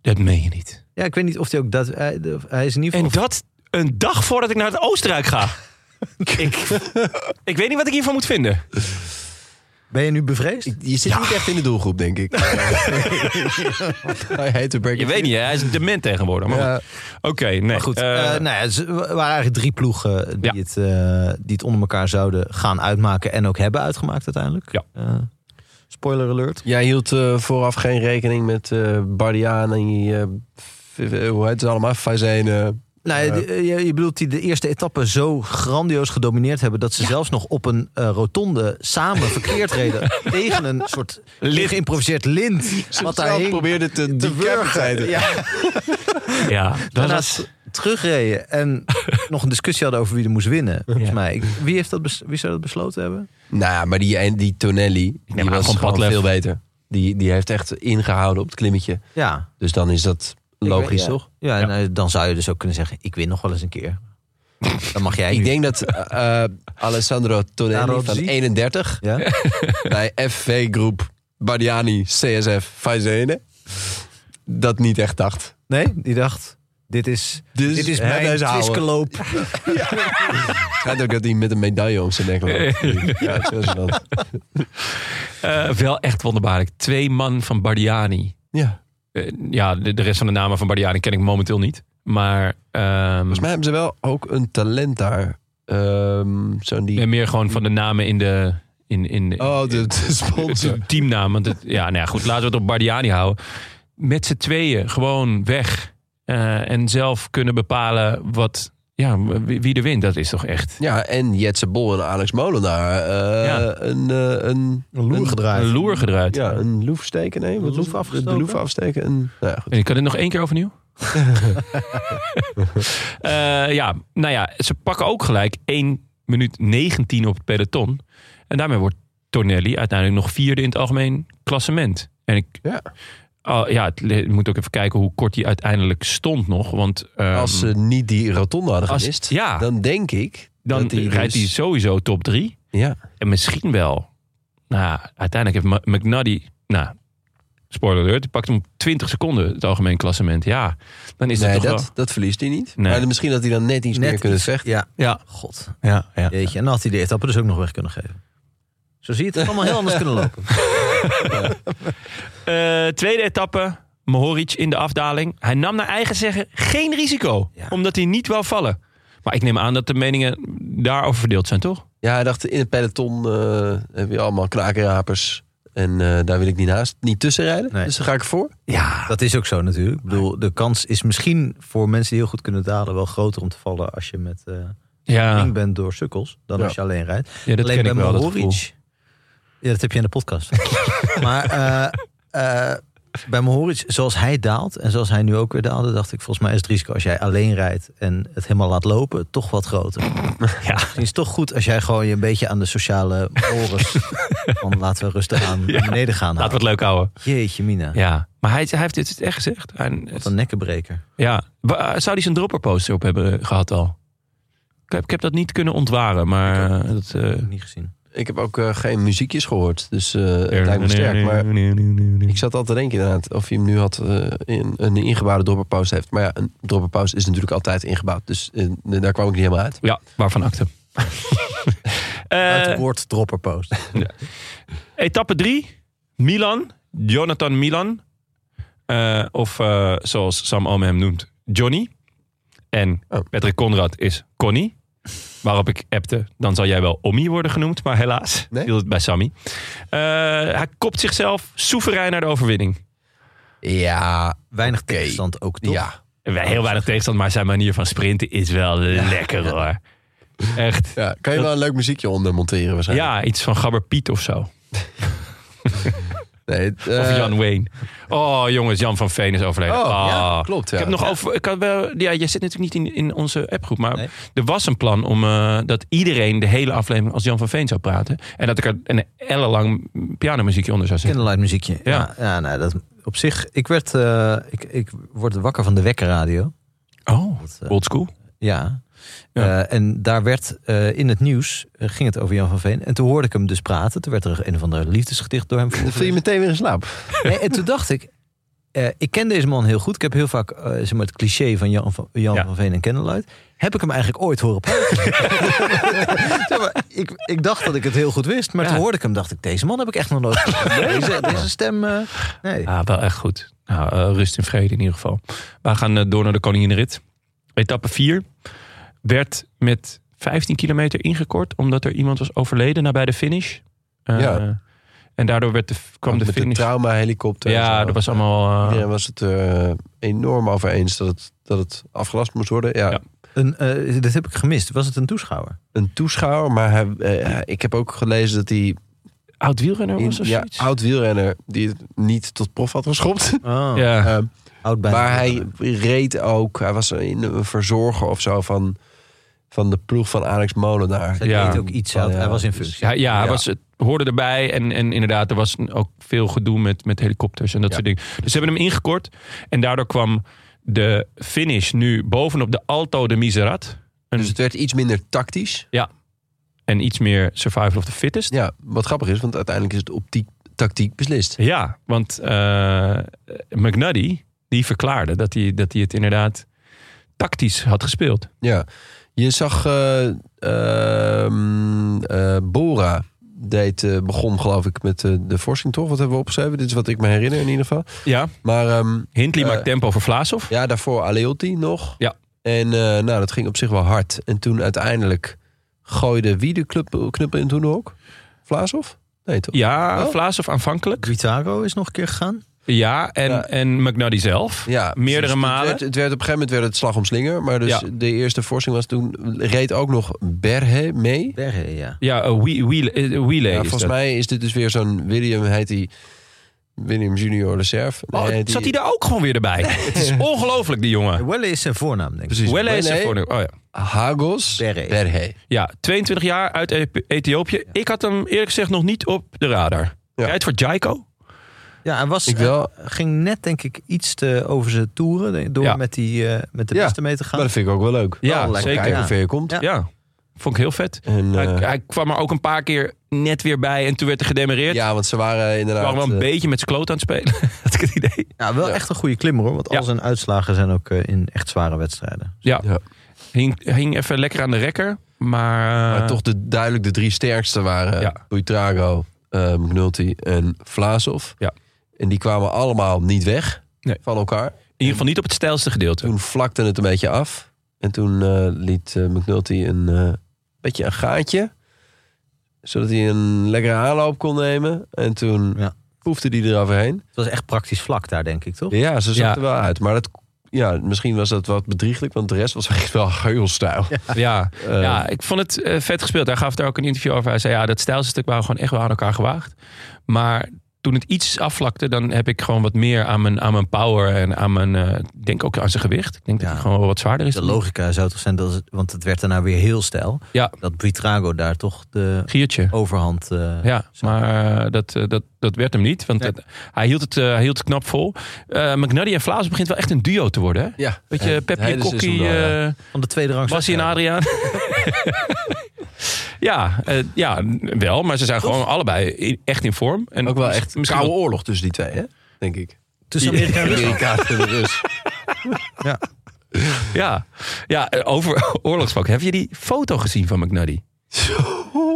Dat meen je niet. Ja, ik weet niet of hij ook dat. Hij, de- hij is in ieder En geval. dat een dag voordat ik naar het Oostenrijk ga. ik, ik weet niet wat ik hiervan moet vinden. Ben je nu bevreesd? Je zit niet echt in de doelgroep, denk ik. Hij heet de break Je it. weet niet, hè? hij is dement tegenwoordig. Maar Ja. goed. Oké, nee. Maar goed, eh, eh, nou ja, ze wa- waren eigenlijk drie ploegen die, Ja. het, eh, die het onder elkaar zouden gaan uitmaken en ook hebben uitgemaakt uiteindelijk. Ja. Eh, spoiler alert. Jij hield eh, vooraf geen rekening met eh Bardiaan en je, eh, v- eh, hoe heet ze allemaal? Fazijn. eh, Nou, ja, die- eh, je, je bedoelt die de eerste etappe zo grandioos gedomineerd hebben dat ze zelfs nog op een eh, rotonde samen verkeerd reden tegen een soort Lint. geïmproviseerd lint. Wat daar zelf hing. probeerde te te, te wurgen. Ja. ja, dat Daarnaast was... terugreden en nog een discussie hadden over wie er moest winnen. Volgens mij. Ik- Wie, heeft dat bes- wie zou dat besloten hebben? Nou, maar die, en- die Tonelli, die maar was gewoon gewoon padlef. veel beter. Die, die heeft echt ingehouden op het klimmetje. Ja. Dus dan is dat logisch, weet- toch? Ja, Ja. nou, dan zou je dus ook kunnen zeggen, ik win nog wel eens een keer. Dan mag jij Ik nu. denk dat eh, eh, Alessandro Tonelli van Narodzi? 31 Ja? bij FV Groep Bardiani CSF Fazene dat niet echt dacht. Nee, die dacht, dit is, Dus dit is hè, mijn deze ouwe. twiskeloop. Het schijnt ook dat hij met een medaille om zijn nek loopt. Ja, zo is dat. eh, wel echt wonderbaarlijk. Twee man van Bardiani. Ja. Eh, ja, de, de rest van de namen van Bardiani ken ik momenteel niet. Maar ehm, Volgens mij hebben ze wel ook een talent daar. Ehm Zo'n die... ja, meer gewoon van de namen in de... In, in, Oh, de, de sponsor. de teamnaam. Want het, ja, nou ja, goed, laten we het op Bardiani houden. Met z'n tweeën gewoon weg. Eh, en zelf kunnen bepalen wat, ja, wie, wie er wint. Dat is toch echt Ja, en Jetse Bol en Alex Molenaar. eh, Ja. Een, eh, een, Een loer gedraaid. een loer gedraaid. ja, een loef steken. Nee, wat Een is loef het? afgestoken? De loef afsteken. Een, nou ja, goed. En ik kan dit nog één keer overnieuw. Eh, ja, nou ja, ze pakken ook gelijk 1 minuut 19 op het peloton. En daarmee wordt Tornelli uiteindelijk nog vierde in het algemeen klassement. En ik, Ja. Ah, ja, het le- moet ook even kijken hoe kort hij uiteindelijk stond nog. Want ehm, Als eh, ze niet die rotonde hadden als- gemist, ja. dan denk ik... dan dat die rijdt hij dus- sowieso top 3. Ja. En misschien wel. Nou, uiteindelijk heeft Ma- McNuddy. Nou, spoiler alert. Die pakt hem op 20 seconden het algemeen klassement. Ja, dan is nee, dat toch dat, wel. dat verliest hij niet. Nee. Maar dan misschien dat hij dan net iets meer kunnen iets- vechten. Ja, Ja, god. ja, ja. Jeetje. En dan had hij de etappe dus ook nog weg kunnen geven. Zo zie je het, het had allemaal heel anders kunnen lopen. Eh, tweede etappe. Mohoric in de afdaling. Hij nam naar eigen zeggen geen risico, omdat hij niet wou vallen. Maar ik neem aan dat de meningen daarover verdeeld zijn, toch? Ja, hij dacht in het peloton eh, heb je allemaal krakerapers. En eh, daar wil ik niet naast, niet tussen rijden. Nee. Dus daar ga ik voor. Ja. Dat is ook zo natuurlijk. Ik bedoel, de kans is misschien voor mensen die heel goed kunnen dalen wel groter om te vallen als je met eh Ja, ring bent door sukkels dan Ja. als je alleen rijdt. Ah. ja dat alleen ken ik wel, dat gevoel. Mohoric. Ja, dat heb je in de podcast. maar eh, eh, bij Mohoric, zoals hij daalt en zoals hij nu ook weer daalde, dacht ik volgens mij is het risico als jij alleen rijdt en het helemaal laat lopen toch wat groter. Ja. Misschien is het toch goed als jij gewoon je een beetje aan de sociale horens van laten we rustig aan naar beneden gaan. Laten we het leuk houden. houden. Jeetje mina, Ja, maar hij, hij heeft dit echt gezegd. En het- wat een nekkenbreker. ja. Wa- eh, Zou hij zijn dropperposter op hebben eh, gehad al? Ik heb, ik heb dat niet kunnen ontwaren, maar... eh, Dat, eh, Niet gezien. Ik heb ook eh, geen muziekjes gehoord. Dus eh het lijkt me sterk. Maar ik zat al te denken inderdaad of hij hem nu had eh, in, een ingebouwde dropperpauze heeft. Maar ja, een dropperpauze is natuurlijk altijd ingebouwd. Dus eh, daar kwam ik niet helemaal uit. Ja, waarvan akte. Uit Eh het woord dropperpost. etappe 3. Milan. Jonathan Milan. Eh, of eh, zoals Sam Omen hem noemt, Johnny. En Oh. Patrick Conrad is Connie. Waarop ik appte, dan zal jij wel Ommy worden genoemd. Maar helaas, Nee. hield het bij Sammy. Eh, hij kopt zichzelf soeverein naar de overwinning. Ja, weinig tegenstand ook toch? Ja. Wij- Heel weinig tegenstand, maar zijn manier van sprinten is wel lekker hoor. Echt. ja. Kan je wel een leuk muziekje onder monteren waarschijnlijk? Ja, iets van Gabber Piet of zo. Nee, het, eh, Of Jan Wayne. Oh jongens, Jan van Veen is overleden. Oh, ja, Ah. klopt. Ja. Ik heb nog over. Ik had wel, ja, jij zit natuurlijk niet in, in onze appgroep. Maar Nee. er was een plan om eh, dat iedereen de hele aflevering als Jan van Veen zou praten. En dat ik er een ellenlang pianomuziekje onder zou zetten. Kinderlight muziekje. Ja. Ja, ja, nou, dat op zich. Ik werd, eh, ik, ik word wakker van de wekkerradio. Oh, Dat, eh, old school. ja. Ja. Eh, en daar werd eh, in het nieuws eh, ging het over Jan van Veen. En toen hoorde ik hem dus praten. Toen werd er een van de liefdesgedicht door hem Dan viel je voorgelezen. meteen weer in slaap. Nee, en toen dacht ik, eh, ik ken deze man heel goed. Ik heb heel vaak eh, zeg maar het cliché van Jan van, Jan Ja. van Veen en Candlelight. Heb ik hem eigenlijk ooit horen praten? Zeg maar, ik, ik dacht dat ik het heel goed wist. Maar Ja. toen hoorde ik hem, dacht ik, deze man heb ik echt nog nooit gehoord. Deze, deze stem, eh, nee. Ja, wel echt goed. Nou, eh, rust in vrede in ieder geval. We gaan eh, door naar de Koninginrit. Etappe 4 werd met 15 kilometer ingekort. Omdat er iemand was overleden nabij de finish. Eh, Ja. En daardoor werd de, kwam de Met finish... de trauma-helikopter. en ja, zo. dat was allemaal... eh, Iedereen was het eh, enorm over eens dat het, dat het afgelast moest worden. Ja, Ja. Een, eh, dit heb ik gemist. Was het een toeschouwer? Een toeschouwer, maar hij, eh, ik heb ook gelezen dat hij... Oud wielrenner in- Oh, was of ja, zoiets? oud wielrenner die het niet tot prof had geschopt. Oh, Ja. Eh, oud bij maar hij reed ook, hij was in een verzorger of zo van, van de ploeg van Alex Molenaar. Hij Ja. deed ook iets. Hij, had- hij was in functie. Ja, ja, hij Ja. Was, het hoorde erbij. En, en inderdaad, er was ook veel gedoe met, met helikopters en dat Ja. soort dingen. Dus ze hebben hem ingekort. En daardoor kwam de finish nu bovenop de Alto de Miserat. Dus het werd iets minder tactisch. En iets meer survival of the fittest. Ja, wat grappig is, want uiteindelijk is het optiek tactiek beslist. Ja, want eh McNuddy, die verklaarde dat hij, dat hij het inderdaad tactisch had gespeeld. Ja, je zag eh, ehm, eh, Bora deed, eh, begon geloof ik met eh, de forsing toch? Wat hebben we opgeschreven? Dit is wat ik me herinner in ieder geval. Ja, Maar ehm, Hindley Eh, maakt tempo voor Vlaashoff. ja, daarvoor Aleotti nog. Ja. En eh, nou, dat ging op zich wel hard. En toen uiteindelijk gooide wie de club, knuppel in toen ook? Vlaashoff? Nee toch? Ja, Oh. Vlaashoff aanvankelijk. Guitaro is nog een keer gegaan. Ja, en, Ja. en McNuddy zelf. Ja, Meerdere precies. malen. Het werd, het werd op een gegeven moment werd het slag om slinger. Maar dus Ja. de eerste forsing was toen... reed ook nog Berhe mee. Berge, ja. Ja, uh, Wheelay. is Ja, volgens dat. mij is dit dus weer zo'n William, heet hij William Junior Reserve. Oh, Nee, heet zat hij die- daar ook gewoon weer erbij? Het is ongelooflijk, die jongen. Welle is zijn voornaam, denk ik. Precies. Welle is er Welle. voor nu. Oh ja. Hagos Berhe. Berhe. ja, 22 jaar uit Eth- Ethiopië. Ik had hem eerlijk gezegd nog niet op de radar. Ja. Rijdt voor Jaiko. Ja, hij was, Ik wel. hij ging net, denk ik, iets te over zijn toeren. denk ik, Door Ja. met, die, eh, met de Ja, beste mee te Maar gaan. dat vind ik ook wel leuk. Ja, lekker. zeker. Kijken Ja. hoe ver je komt. Ja. Ja, vond ik heel vet. En, Hij, eh, hij kwam er ook een paar keer net weer bij en toen werd er gedemereerd. ja, want ze waren We inderdaad... waren wel een eh, beetje met z'n kloot aan het spelen, had ik het idee. Ja, wel Ja. echt een goede klimmer, hoor. Want Ja. al zijn uitslagen zijn ook eh, in echt zware wedstrijden. Ja, Ja. Hing, hing even lekker aan de rekker, maar... eh, maar toch de, duidelijk de drie sterkste waren. Ja. Buitrago, eh, McNulty en Vlaasov. Ja. En die kwamen allemaal niet weg. Nee. van elkaar. In ieder geval niet op het stijlste gedeelte. Toen vlakte het een beetje af. En toen eh, liet eh, McNulty een eh, beetje een gaatje. Zodat hij een lekkere aanloop kon nemen. En toen Ja. proefde hij eroverheen. Het was echt praktisch vlak daar, denk ik, toch? Ja, ze zag Ja. er wel uit. Maar dat, ja, misschien was dat wat bedrieglijk. Want de rest was echt wel geugelstijl. Ja, Eh, ja, ik vond het eh, vet gespeeld. Hij gaf het ook een interview over. Hij zei, ja, dat stijlste stuk waren we gewoon echt wel aan elkaar gewaagd. Maar toen het iets afvlakte, dan heb ik gewoon wat meer aan mijn, aan mijn power en aan mijn, eh, ik denk ook aan zijn gewicht. Ik denk dat Ja. hij gewoon wel wat zwaarder is. De logica zou toch zijn, dat, het- want het werd daarna weer heel stijl. Ja. Dat Buitrago daar toch de Giertje. overhand... eh, Ja, Zo. maar eh, dat, eh, dat, dat werd hem niet. Want Nee. dat- hij, hield het, eh, hij hield het knap vol. Eh McNuddy en Vlaas begint wel echt een duo te worden. Hè? Ja, Beetje Ja, het Pepje, hele seizoen Kokkie, al, ja. eh Van de tweede rang. Bassie en Adriaan. ja, eh, ja, wel. Maar ze zijn gewoon allebei in- echt in vorm. En Ook wel echt misschien koude wel- oorlog tussen die twee, hè? denk ik. Tussen Amerika en Rusland. Amerikaans en de Rus. Ja, ja eh, over oorlogsvak. Heb je die foto gezien van McNuddy?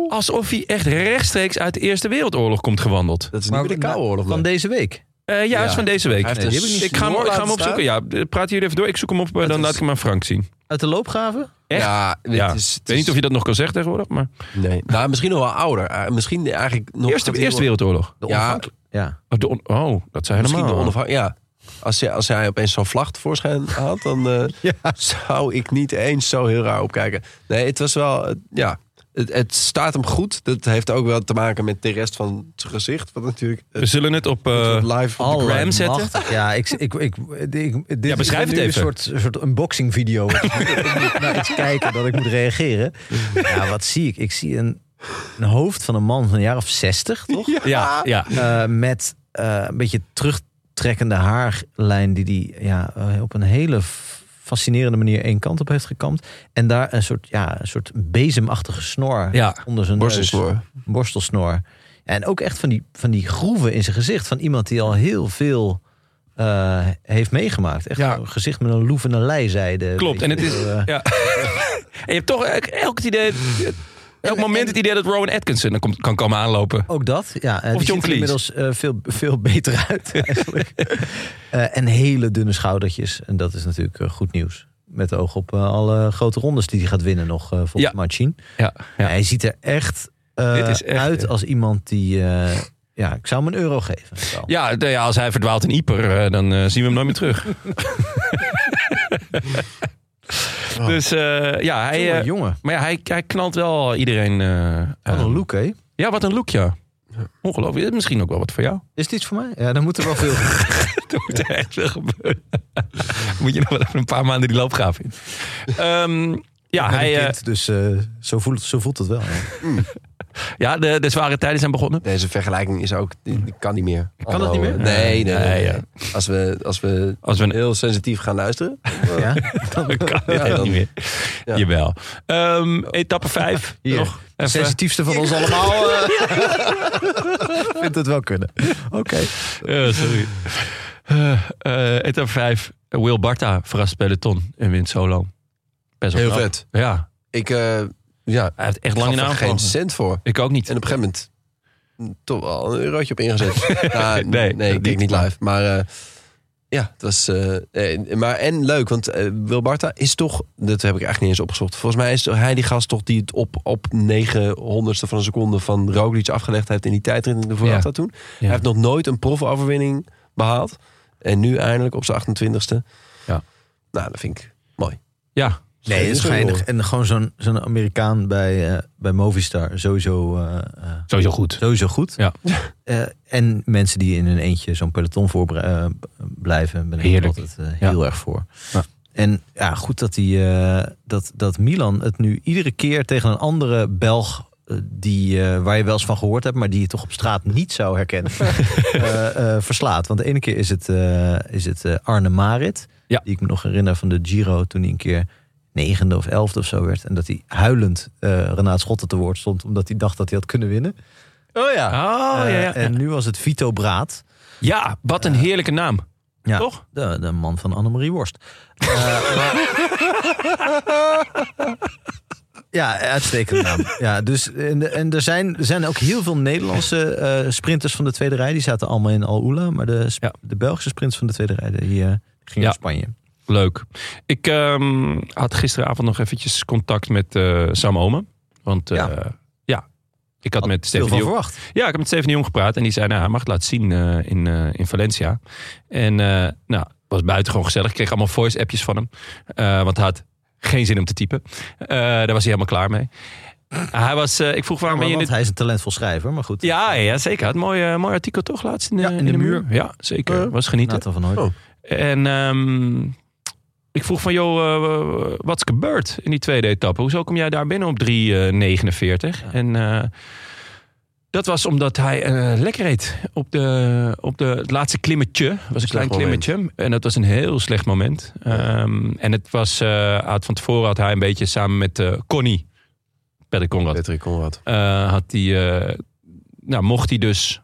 Alsof hij echt rechtstreeks uit de Eerste Wereldoorlog komt gewandeld. Dat is Maar niet nou, meer de Koude na- Oorlog. Van nee. deze week. Eh, ja, dat is van deze week. Hij heeft een die heb ik, niet ik ga hem, snor ik ga hem laten opzoeken. Ja, eh, praten jullie even door. Ik zoek hem op, eh, dan is- laat ik hem aan Frank zien. Uit de loopgraven? Echt? Ja, dit Ja. is, Ik weet niet of je dat nog kan zeggen tegenwoordig, maar... Nee. Nou, misschien nog wel ouder. Eh, misschien eigenlijk nog... Eerste, dat hij Eerste nog- Wereldoorlog. De Ja. onafhankelijk- Ja. Oh, de on- oh, dat zijn Misschien helemaal... de onafhan- Ja. Als hij, als hij opeens zo'n vlag tevoorschijn haalt, dan eh, zou ik niet eens zo heel raar opkijken. Nee, het was wel... eh, ja, het, het staat hem goed. Dat heeft ook wel te maken met de rest van zijn gezicht. Wat natuurlijk... eh, We zullen het op... eh, live op de Alle gram. gram zetten? machtig. Ja, ik, ik, ik, ik- dit Ja, beschrijf is het nu even. Een soort, een soort unboxing video. ik moet naar iets kijken dat ik moet reageren. Ja, wat zie ik? Ik zie een, een hoofd van een man van een jaar of zestig, toch? ja, ja. Eh, met eh, een beetje terugtrekkende haarlijn die, die ja, eh, op een hele f- fascinerende manier één kant op heeft gekamd. En daar een soort, ja, een soort bezemachtige snor Ja. onder zijn neus. Borstelsnoer. borstelsnor. En ook echt van die, van die groeven in zijn gezicht. Van iemand die al heel veel eh, heeft meegemaakt. Echt Ja. een gezicht met een loef en een lijzijde. Klopt, en het is... Eh, Ja. en je hebt toch elk, elk, het idee, elk moment het idee dat Rowan Atkinson dan komt, kan komen aanlopen. Ook dat, ja. eh, Of die John ziet er inmiddels eh, veel, veel beter uit eigenlijk. Eh, en hele dunne schoudertjes. En dat is natuurlijk eh, goed nieuws. Met oog op eh, alle grote rondes die hij gaat winnen nog eh volgens Ja. Marcin. Ja, ja. Hij ziet er echt, eh, Dit is echt, uit eh, als iemand die... eh, ja, ik zou hem een euro geven. Wel. Ja, nou ja, als hij verdwaalt in Ieper, eh, dan eh, zien we hem nooit meer terug. Dus eh, ja, hij, jongen, eh, jongen. maar ja, hij, hij knalt wel iedereen. eh, Wat aan. een look, hè? Ja, wat een look, ja. Ongelooflijk. Dit is Misschien ook wel wat voor jou. Is dit iets voor mij? Ja, dan moet er wel veel. Er moet er echt veel gebeuren. Moet je nog wel even een paar maanden die loopgraaf in. Ehm, ja, hij, eh, dus zo, voelt, zo voelt het wel. eh, ja de, de zware tijden zijn begonnen. Deze vergelijking is ook, die, die kan niet meer. Kan dat niet meer? Nee, nee. nee, Nee, nee. ja. Als, we, als we Als we een heel sensitief gaan luisteren. Ja? Dat kan echt dan- niet meer. Ja. Jawel. Ehm, etappe 5. Hier. Nog Eh, De even. sensitiefste van ons allemaal. eh, vindt het wel kunnen. Oké. Eh, sorry. Eh, eh, etappe 5. Will Barta verrast peloton en wint solo. Best wel Heel knap. vet. Ja, Ik eh ja, hij heeft echt lang in gaf er geen aanval. cent voor. Ik ook niet. En op een gegeven moment mm, toch wel een eurotje op ingezet. Ja, n- Nee, nee, dat ik denk niet. niet live. Maar eh, ja, het was... eh, eh, maar en leuk, want eh, Wilbarta is toch... Dat heb ik eigenlijk niet eens opgezocht. Volgens mij is hij die gast toch die het op, op 900ste van een seconde van Roglic afgelegd heeft... in die tijdrit in de Vuelta Ja. toen. Hij heeft nog nooit een profoverwinning behaald. En nu eindelijk op zijn 28ste. Ja. Nou, dat vind ik... Ja, Nee, dat is Geen geinig. hoor. En gewoon zo'n zo'n Amerikaan bij, eh, bij Movistar. Sowieso, eh, eh, sowieso goed. sowieso goed. Ja. Eh, en mensen die in hun eentje zo'n peloton voor eh, blijven. Ben ik Heerlijk. altijd eh, Ja. heel erg voor. Ja. En ja, goed dat, die, eh, dat, dat Milan het nu iedere keer tegen een andere Belg... eh, Die, eh, waar je wel eens van gehoord hebt, maar die je toch op straat niet zou herkennen, eh, eh, verslaat. Want de ene keer is het, eh, is het eh, Arne Marit, Ja. die ik me nog herinner van de Giro toen hij een keer negende of elfde of zo werd. En dat hij huilend eh Renaat Schotten te woord stond, omdat hij dacht dat hij had kunnen winnen. Oh ja. Oh, ja, Eh, ja. En nu was het Vito Braat. ja, wat een heerlijke naam. Ja, Toch? De, de man van Annemarie Worst. Eh, maar- Ja, uitstekende naam. Ja, dus, en en er, zijn, er zijn ook heel veel Nederlandse eh, sprinters van de tweede rij. Die zaten allemaal in Al-Ula. Maar de, sp- Ja. de Belgische sprinters van de tweede rij die, eh, gingen Ja. naar Spanje. Leuk. Ik ehm, had gisteravond nog eventjes contact met eh, Sam Omen. Want eh, ja. ik had, met Veel Steven van de Jong- verwacht. Ja, ik heb met Steven de Jong gepraat en die zei, nou, hij mag het laten zien eh, in, eh, in Valencia. En eh nou, het was buitengewoon gezellig. Ik kreeg allemaal voice-appjes van hem. eh, want hij had geen zin om te typen. Eh, daar was hij helemaal klaar mee. Hij was, eh, ik vroeg waarom Maar, ben je in want de hij is een talentvol schrijver. Maar goed, ja, ja, zeker. Hij had een mooi, eh, mooi artikel toch laatst in, eh, Ja, in de, muur. Ja, zeker. Eh, Was genieten. Nathan van Hooy. Oh. En ehm, ik vroeg van, joh, eh, wat is gebeurd in die tweede etappe? Hoezo kom jij daar binnen op 3,49? En eh, dat was omdat hij eh, lekker reed op, de, op de, het laatste klimmetje. Het was een klein moment. klimmetje. En dat was een heel slecht moment. Ehm, en het was, eh, uit van tevoren had hij een beetje samen met eh, Connie, Patrick Conrad, Patrick Conrad. eh, had hij, eh, nou, mocht hij dus,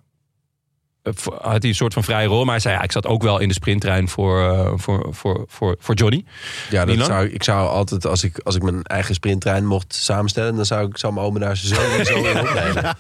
eh, v- had hij een soort van vrije rol. Maar hij zei, ja, ik zat ook wel in de sprinttrein voor, eh, voor, voor, voor, voor Johnny. Ja, dat Milan? zou, ik zou altijd, als ik, als ik mijn eigen sprinttrein mocht samenstellen, dan zou ik Sam Omen daar zo en zo in opleiden.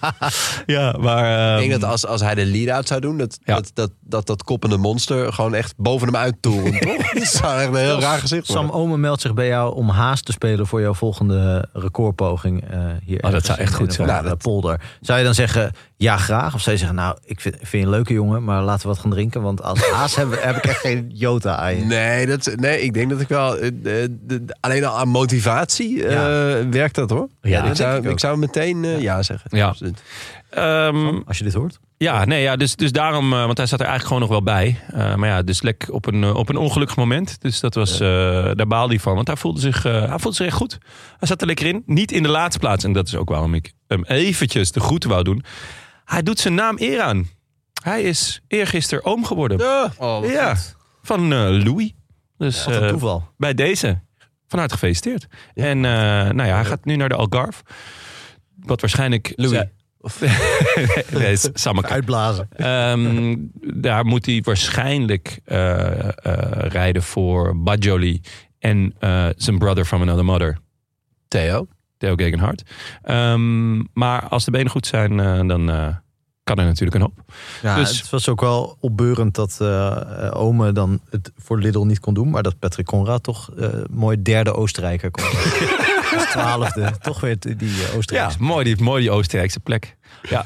Ja, maar... Ik denk dat als, als hij de lead-out zou doen, dat, Ja. dat, dat, dat dat koppende monster gewoon echt boven hem uit toeren, toch? Dat zou echt een heel raar gezicht Sam worden. Omen meldt zich bij jou om haast te spelen voor jouw volgende recordpoging eh, hier. Oh, dat ergens zou echt in goed een zijn. of andere Nou, polder. Zou je dan zeggen, ja graag? Of zou je zeggen, nou, ik vind, vind je een leuke jongen, maar laten we wat gaan drinken. Want als haas heb, heb ik echt geen jota aan je. Nee, dat, nee, ik denk dat ik wel... eh, eh, de- de- alleen al aan motivatie eh, werkt dat, hoor. Ja, dat ik, zou, denk ik ik, ook. zou meteen eh, ja zeggen. Ja. Absoluut. Ehm, Als je dit hoort. Ja, nee, ja dus, dus daarom, eh, want hij zat er eigenlijk gewoon nog wel bij. Eh, maar ja, dus lek op een, eh, op een ongelukkig moment. Dus dat was, eh, daar baalde hij van. Want hij voelde, zich, eh, hij voelde zich echt goed. Hij zat er lekker in. Niet in de laatste plaats. En dat is ook waarom ik hem eventjes de groeten wou doen. Hij doet zijn naam eer aan. Hij is eergisteren oom geworden. Ah, Ja. ja, van eh, Louis. Dus Wat een eh, toeval. bij deze, van harte gefeliciteerd. En eh, nou ja, hij gaat nu naar de Algarve. Wat waarschijnlijk... Louis. Ja. nee, het is Samaka. Uitblazen. Ehm, daar moet hij waarschijnlijk eh, eh, rijden voor Bajoli en eh, zijn brother from another mother, Theo. Theo Gegenhardt. Ehm, maar als de benen goed zijn, eh, dan eh, kan er natuurlijk een hoop. Ja, Dus- Het was ook wel opbeurend dat eh eh, Ome dan het voor Lidl niet kon doen. Maar dat Patrick Conrad toch eh, mooi derde Oostenrijker kon worden. Als twaalfde. Toch weer die eh, Ja, Oostenrijkse. mooi die, mooi die Oostenrijkse plek. Ja.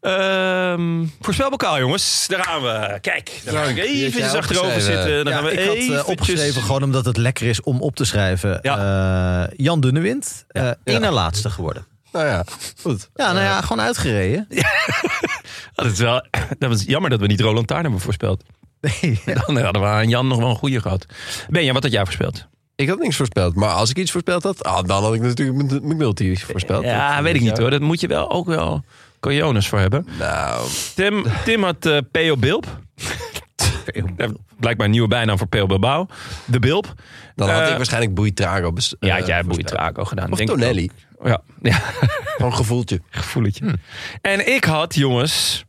Ehm, voorspelbokaal, jongens. Daar gaan we. Kijk, daar gaan we die heb jij eventjes achterover opgeschreven. zitten. Dan Ja, gaan we ik had eh, eventjes- opgeschreven gewoon omdat het lekker is om op te schrijven. Eh, Jan Dunnewind, eh één na laatste geworden. Nou ja, goed. Ja, nou ja, gewoon uitgereden. Ja, dat, is wel, dat was jammer dat we niet Roland Taarn hebben voorspeld. Nee, Dan eh, hadden we aan Jan nog wel een goede gehad. Benja, wat had jij voorspeld? Ik had niks voorspeld. Maar als ik iets voorspeld had, ah, dan had ik natuurlijk mijn- mijn multi voorspeld. Ja, Dat- weet ik niet ja. hoor. Dat moet je wel ook wel cojones voor hebben. Nou, Tim, Tim had eh P.O. Bilp. Eh, Blijkbaar een nieuwe bijnaam voor P.O. Bilbao. De Bilp. dan had Eh, ik waarschijnlijk Boeitrago. bes- Ja, eh, had jij voorspeld. Boeitrago gedaan. Of denk ik Tonelli. ook. Ja, ja, Gewoon een gevoeltje. gevoeletje. En ik had, jongens...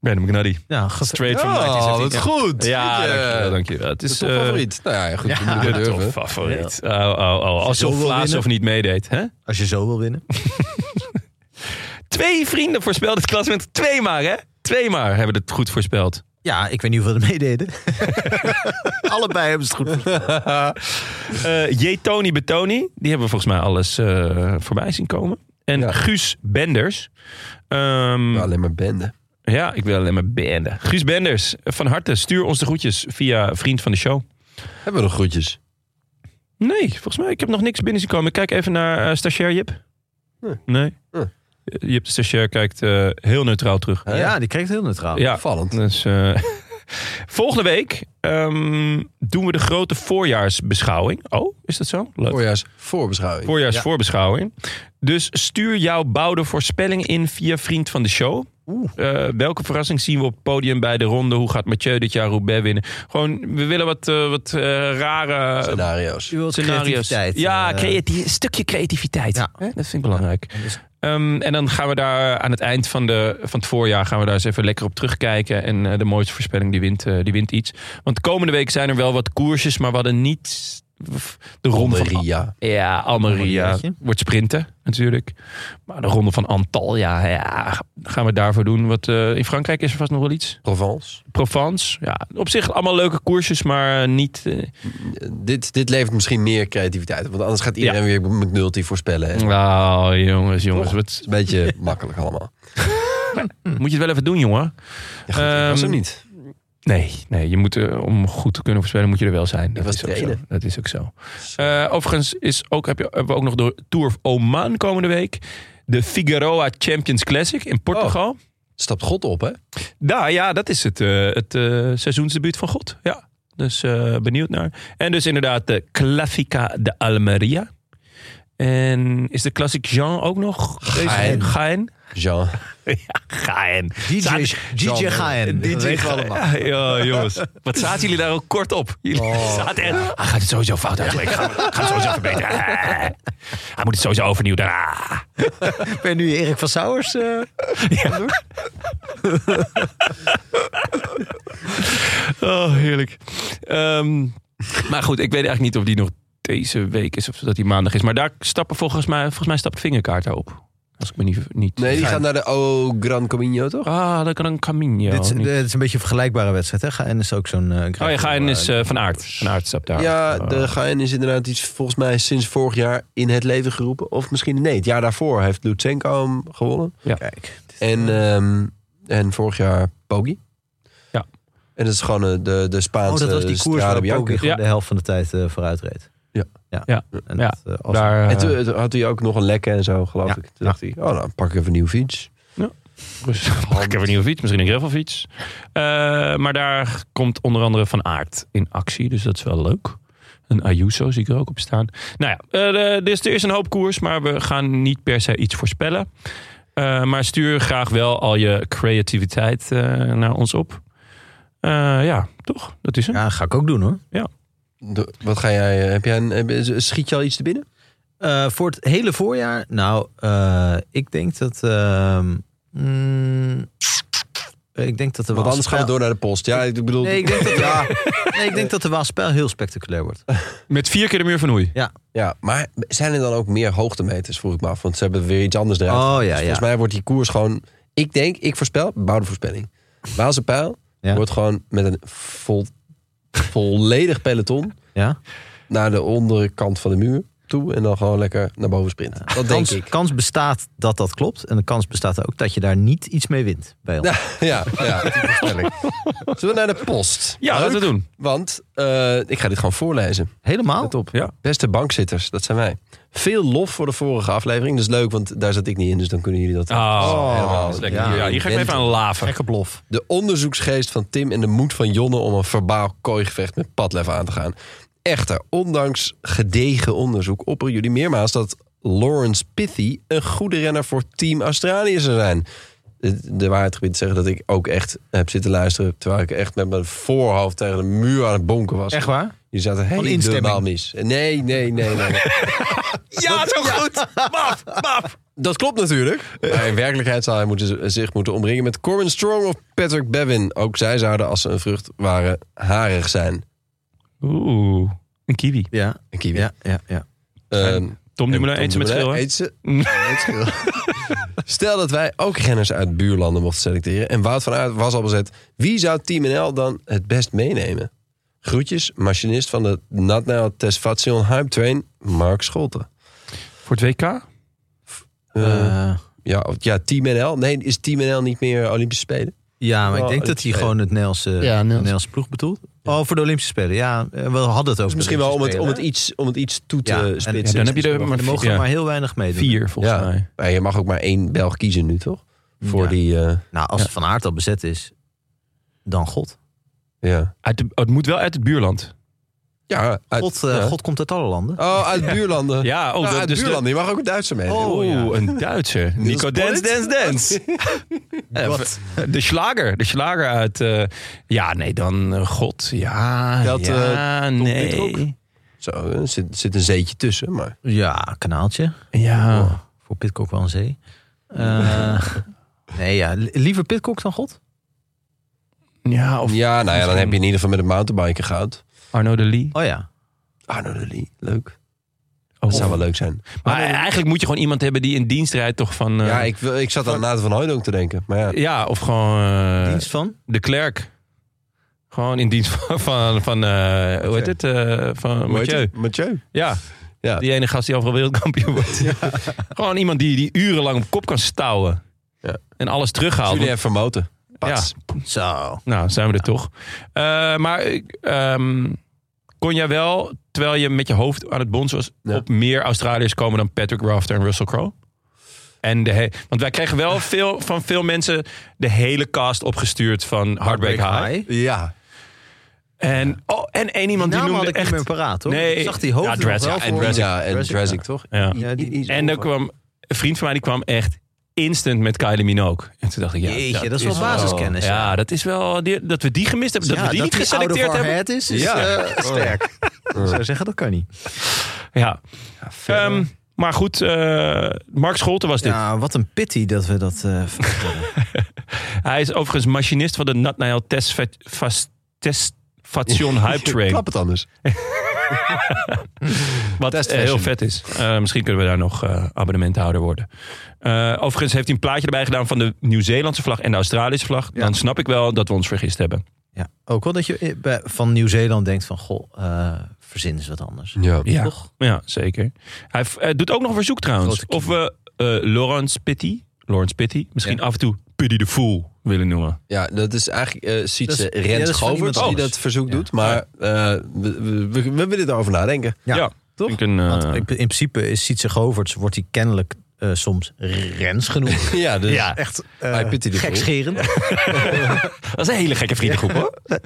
Brandon McNuddy. ja, Straight from 1917. goed. Ja, Goed, eh, dankjewel, dankjewel. Het Dat is is toch eh, favoriet. Nou ja, goed. je Ja, moet het durven. toch favoriet. Oh, oh, oh. Alsof wil Vlaas winnen. of niet meedeed. Hè? Als je zo wil winnen. Twee vrienden voorspelden het klassement. Twee maar, hè? Twee maar hebben het goed voorspeld. Ja, ik weet niet hoeveel er meededen. Allebei hebben ze het goed Eh, J. Tony Betoni, die hebben we volgens mij alles eh, voorbij zien komen. En Ja. Guus Benders. Ehm, Ja, Alleen maar bende. ja, ik wil alleen maar beenden. Guus Benders, van harte, stuur ons de groetjes via Vriend van de Show. Hebben we nog groetjes? Nee, volgens mij, ik heb nog niks binnen zien komen. Ik kijk even naar eh, stagiair Jip. Nee. Nee. Eh, Nee. Jip de stagiair kijkt eh, heel neutraal terug. Hè? Ja, die kreeg het heel neutraal. Ja, Opvallend. Dus, eh, volgende week ehm, doen we de grote voorjaarsbeschouwing. Oh, is dat zo? Leuk. Voorjaars voorbeschouwing. Voorjaarsvoorbeschouwing. Dus stuur jouw bouwde voorspelling in via Vriend van de Show. Eh, welke verrassing zien we op het podium bij de ronde? Hoe gaat Mathieu dit jaar Roubaix winnen? Gewoon, we willen wat, eh, wat eh, rare Scenario's. U wilt scenario's. creativiteit, Ja, eh, creati- een stukje creativiteit. Ja. Hè, Dat vind ik belangrijk. dus- Ehm, en dan gaan we daar aan het eind van, de, van het voorjaar gaan we daar eens even lekker op terugkijken. En eh, de mooiste voorspelling die wint, eh, die wint iets. Want komende week zijn er wel wat koersjes, maar we hadden niet. de ronde van Ria. ja, Almeria Almeriaatje. wordt sprinten natuurlijk. Maar de ronde van Antalya, ja, gaan we daarvoor doen. Wat, eh, in Frankrijk is er vast nog wel iets. Provence. Provence, ja, op zich allemaal leuke koersjes, maar niet... eh, Dit, dit levert misschien meer creativiteit. op, Want anders gaat iedereen weer McNulty voorspellen. hè. Het Nou, jongens, jongens, wat, is een beetje makkelijk allemaal. moet je het wel even doen, jongen. Ja, goed, ik was Ehm, er niet. Nee, nee je moet, eh, om goed te kunnen voorspellen moet je er wel zijn. Dat, was is, ook zo. tweede. dat is ook zo. Eh, overigens is ook, heb je, hebben we ook nog de Tour of Oman komende week. De Figueroa Champions Classic in Portugal. Stapt God op, hè? Nou ja, dat is het, eh, het eh, seizoensdebuut van God. Ja, dus eh, benieuwd naar. En dus inderdaad de Classica de Almeria. En is de Classic Jean ook nog? Gaen. Gaen. Jean. Gaen. DJ, DJ Jean. Gaen. DJ Dat weten we Gaen. allemaal. Ja, ja, jongens. Wat zaten jullie daar ook kort op? Jullie zaten echt... Oh. Hij gaat het sowieso fout eigenlijk. Hij gaat het sowieso verbeteren. Ah. Hij moet het sowieso overnieuw doen. Ah. Ben je nu Erik van Sauers? eh, Oh, heerlijk. Ehm, maar goed, ik weet eigenlijk niet of die nog deze week is of dat die maandag is. Maar daar stappen volgens mij, volgens mij stapt Vingerkaart op. Als ik me niet... niet Nee, die gaat naar de O Gran Camino, toch? Ah, dat kan een Camino. dit, is- niet- dit is een beetje een vergelijkbare wedstrijd. Hè? Gaen is ook zo'n... eh, oh ja, Gaen is eh, eh, Van Aert. Van Aert stapt daar. Ja, Eh, de Gaen is inderdaad iets volgens mij sinds vorig jaar in het leven geroepen. Of misschien nee, het jaar daarvoor heeft Lutsenko hem gewonnen. Kijk. En, eh, ehm, en vorig jaar Poggi. Ja. En dat is gewoon eh, de, de Oh, Spaanse dat was die koers Strade waar Bianca. Poggi gewoon Ja. de helft van de tijd eh, vooruit reed. Ja. ja. Ja. En Ja. dat, eh, als- daar, En eh, toen, toen had hij ook nog een lekke en zo, geloof Ja. ik. Toen dacht hij, oh, dan pak ik even een nieuwe fiets. Dus ik heb een nieuwe fiets, misschien een gravelfiets. Eh maar daar komt onder andere Van Aert in actie, dus dat is wel leuk. Een Ayuso zie ik er ook op staan. Nou ja, eh, eh, dus er is een hoop koers, maar we gaan niet per se iets voorspellen. Eh, maar stuur graag wel al je creativiteit eh, naar ons op. Eh, ja, toch? Dat is hem. Ja, ga ik ook doen hoor. De- wat ga jij, eh, heb jij een, heb- schiet je al iets te binnen? Eh, voor het hele voorjaar? Nou, eh, ik denk dat... ehm, mm, ik denk dat de Want anders gaan we Waalspijl- door naar de post. Ja, ik bedoel, Nee, ik denk dat, ja. nee, ik denk dat de Waalspijl heel spectaculair wordt. Met vier keer de muur van Hoei. ja, maar zijn er dan ook meer hoogtemeters, vroeg ik me af. Want ze hebben weer iets anders eruit. Dus Oh ja, ja. Volgens mij wordt die koers gewoon... Ik denk, ik voorspel, bouw de voorspelling. Waalse pijl Ja. wordt gewoon met een vol, volledig peloton ja? naar de onderkant van de muur toe. En dan gewoon lekker naar boven sprinten. Dat denk Kans, ik. kans bestaat dat dat klopt. En de kans bestaat ook dat je daar niet iets mee wint bij ons. Ja, ja, ja. die voorspelling. Zullen we naar de post? Ja, Leuk, laten we doen. Want eh, ik ga dit gewoon voorlezen. Helemaal? Let op. Ja. Beste bankzitters, dat zijn wij. Veel lof voor de vorige aflevering. Dat is leuk, want daar zat ik niet in. Dus dan kunnen jullie dat... Oh, helemaal. dat is lekker. Ja. Ja, hier ga ik me even aan laven. Gekke blof. De onderzoeksgeest van Tim en de moed van Jonne om een verbaal kooigevecht met Padlef aan te gaan. Echter, ondanks gedegen onderzoek opperen jullie meermaals dat Lawrence Pithy een goede renner voor Team Australië zou zijn. De, de waarheid gebied zeggen dat ik ook echt heb zitten luisteren terwijl ik echt met mijn voorhoofd tegen de muur aan het bonken was. Echt waar? Je zat er helemaal instemming. mis. Nee, nee, nee, nee. Ja, zo goed. Baf, baf. Dat klopt natuurlijk. Maar in werkelijkheid zou hij moeten, z- zich moeten omringen met Corbin Strong of Patrick Bevin. Ook zij zouden, als ze een vrucht waren, harig zijn. Oeh, een kiwi. Ja, Een kiwi. ja, ja. ja. Ehm, Tom en Dumoulin Tom eet ze nou met Dumoulin schil, hè? eet ze met schil. Stel dat wij ook renners uit buurlanden mochten selecteren. En Wout van Aert was al bezet. Wie zou Team NL dan het best meenemen? Groetjes, machinist van de Natnail Tesfation Hype Train, Mark Scholten. Voor het WK? Eh, Eh, ja, of- ja, Team NL. Nee, is Team NL niet meer Olympische Spelen? ja, maar ik Oh, denk dat hij Olympische gewoon het Nederlandse, Ja, Nederlandse. Nederlandse ploeg bedoelt. Oh, voor de Olympische Spelen. Ja, eh, we hadden het over Dus misschien de wel om het, Olympische om, het Spelen. iets, om het iets toe te Ja, en- ja, spitsen. dan heb je er Maar maar er mogen ja. er maar heel weinig meedoen. Vier, volgens Ja. mij. Maar je mag ook maar één Belg kiezen nu, toch? Voor Ja. die... eh, Nou, als het Van Aert al bezet is, dan God. ja. Uit de- het moet wel uit het buurland. Ja, uit, God, eh, ja. God komt uit alle landen. Oh, uit buurlanden. Ja, oh, Nou, dat- dus uit de- Oh. buurlanden. Je mag ook een Duitser mee. Oeh, een Duitser. Nico Dance, Pollet? Dance, Dance. Eh, Wat? De slager. De slager uit... eh, ja, nee, dan eh, God. Ja, Dat, eh, ja, nee. Pitcock? Zo, er zit, zit een zeetje tussen, maar... Ja, kanaaltje. Ja. Oh, voor Pitcock wel een zee. Eh, nee, ja, li- liever Pitcock dan God? Ja, of ja, nou ja, dan heb je in ieder geval met een mountainbiker goud. Arno de Lee. Oh ja. Arno Lully, leuk. dat zou wel leuk zijn. Oh, Maar eigenlijk moet je gewoon iemand hebben die in dienst rijdt toch van... eh, ja, ik, wil- ik zat aan Nathan van Hooydonk te denken. Maar ja, ja, of gewoon eh, Dienst van? de klerk. Gewoon in dienst van, van, van eh, hoe heet het? eh, van Hoe heet Mathieu. het? Mathieu. Ja. Ja. Die ene gast die overal wereldkampioen wordt. Gewoon iemand die, die urenlang op kop kan stouwen. Ja. En alles terughaalt. Julien Vermoten. Ja, Pats. Zo. nou zijn we er toch. Eh, maar ik, ehm, kon jij wel, terwijl je met je hoofd aan het bonzen was, Ja. op meer Australiërs komen dan Patrick Rafter en Russell Crowe? En de he- Want wij kregen wel veel, van veel mensen de hele cast opgestuurd van Heartbreak High. Ja. En, oh, en één Die iemand die naam had noemde ik echt... echt... niet meer paraat, hoor. Nee. Ik zag die hoofd Ja, nog Drezza. wel En voor me. Dresik. En Drezza, Dresik, ja. toch? Ja. Ja, die- die is En dan over. kwam een vriend van mij die kwam echt instant met Kylie Minogue. En toen dacht ik, ja, Jeetje, dat is wel basiskennis. Ja, dat is wel die- dat we die gemist hebben, dat Ja, we die niet out of geselecteerd our hebben. head is, is Ja. eh, sterk. Ik zou zeggen, dat kan niet. Ja. Ehm, maar goed, eh, Mark Scholten was dit. Ja, wat een pity dat we dat... eh, Hij is overigens machinist van de Nat Nile Test Fa- Fas- Test Station Hype Train. Klap het anders. Wat Test eh, heel fashion. vet is. Eh, misschien kunnen we daar nog eh, abonnementhouder worden. Eh, overigens heeft hij een plaatje erbij gedaan van de Nieuw-Zeelandse vlag en de Australische vlag. Ja. Dan snap ik wel dat we ons vergist hebben. ja. Ook wel dat je eh, bij- van Nieuw-Zeeland denkt van... Goh, eh verzin eens wat anders. Ja. Ja, ja zeker. Hij v- eh, doet ook nog een verzoek trouwens. Grote Of we eh Laurence Pitty, Laurence Pitty, misschien af en toe Pity the Fool willen noemen. Ja, dat is eigenlijk eh Sietse Dat is- ja, Rens dat is van Govert iemand die anders. dat verzoek Ja. doet. Maar eh, we, we, we- we willen erover nadenken. Ja, toch? Ik een, eh, Want in in principe is Sietse Goverts, wordt hij kennelijk eh, soms Rens genoemd. Ja, dus ja, echt eh, Hij pity de gekscherend. dat is een hele gekke vriendengroep hoor.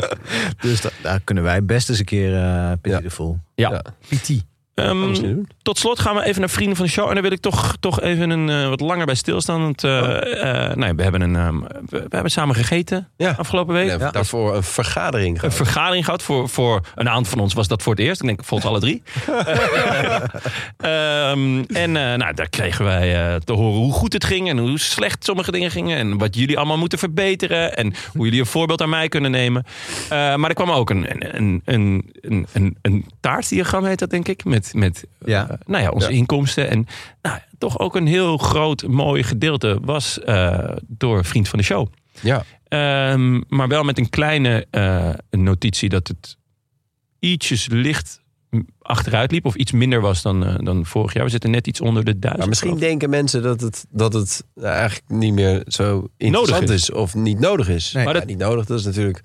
dus da- daar kunnen wij best eens een keer eh Pity Ja. the Fool. Ja. Ja. Pity. Ehm, we misschien doen. tot slot gaan we even naar vrienden van de show. En daar wil ik toch, toch even een, eh, wat langer bij stilstaan. Want eh, eh, nee, we, hebben een, ehm, we, we hebben samen gegeten Ja. afgelopen week. Nee, Daarvoor een vergadering Een gehad. vergadering gehad. Voor, voor een aantal van ons was dat voor het eerst. Ik denk, volgens alle drie. Eh, Ehm, en eh, nou, daar kregen wij eh, te horen hoe goed het ging. En hoe slecht sommige dingen gingen. En wat jullie allemaal moeten verbeteren. En hoe jullie een voorbeeld aan mij kunnen nemen. Eh, maar er kwam ook een, een, een, een, een, een, een taartdiagram, heet dat denk ik. Met, met Ja. eh, nou ja, onze inkomsten. En nou, toch ook een heel groot, mooi gedeelte was eh, door Vriend van de Show. Ja. Ehm, maar wel met een kleine eh, notitie dat het ietsjes licht m- achteruit liep. Of iets minder was dan, eh, dan vorig jaar. We zitten net iets onder de duizend. Maar misschien denken mensen dat het, dat het eh, eigenlijk niet meer zo interessant Nodig is. is. Of niet nodig is. Nee. maar Maar dat... dat- niet nodig, dat is natuurlijk...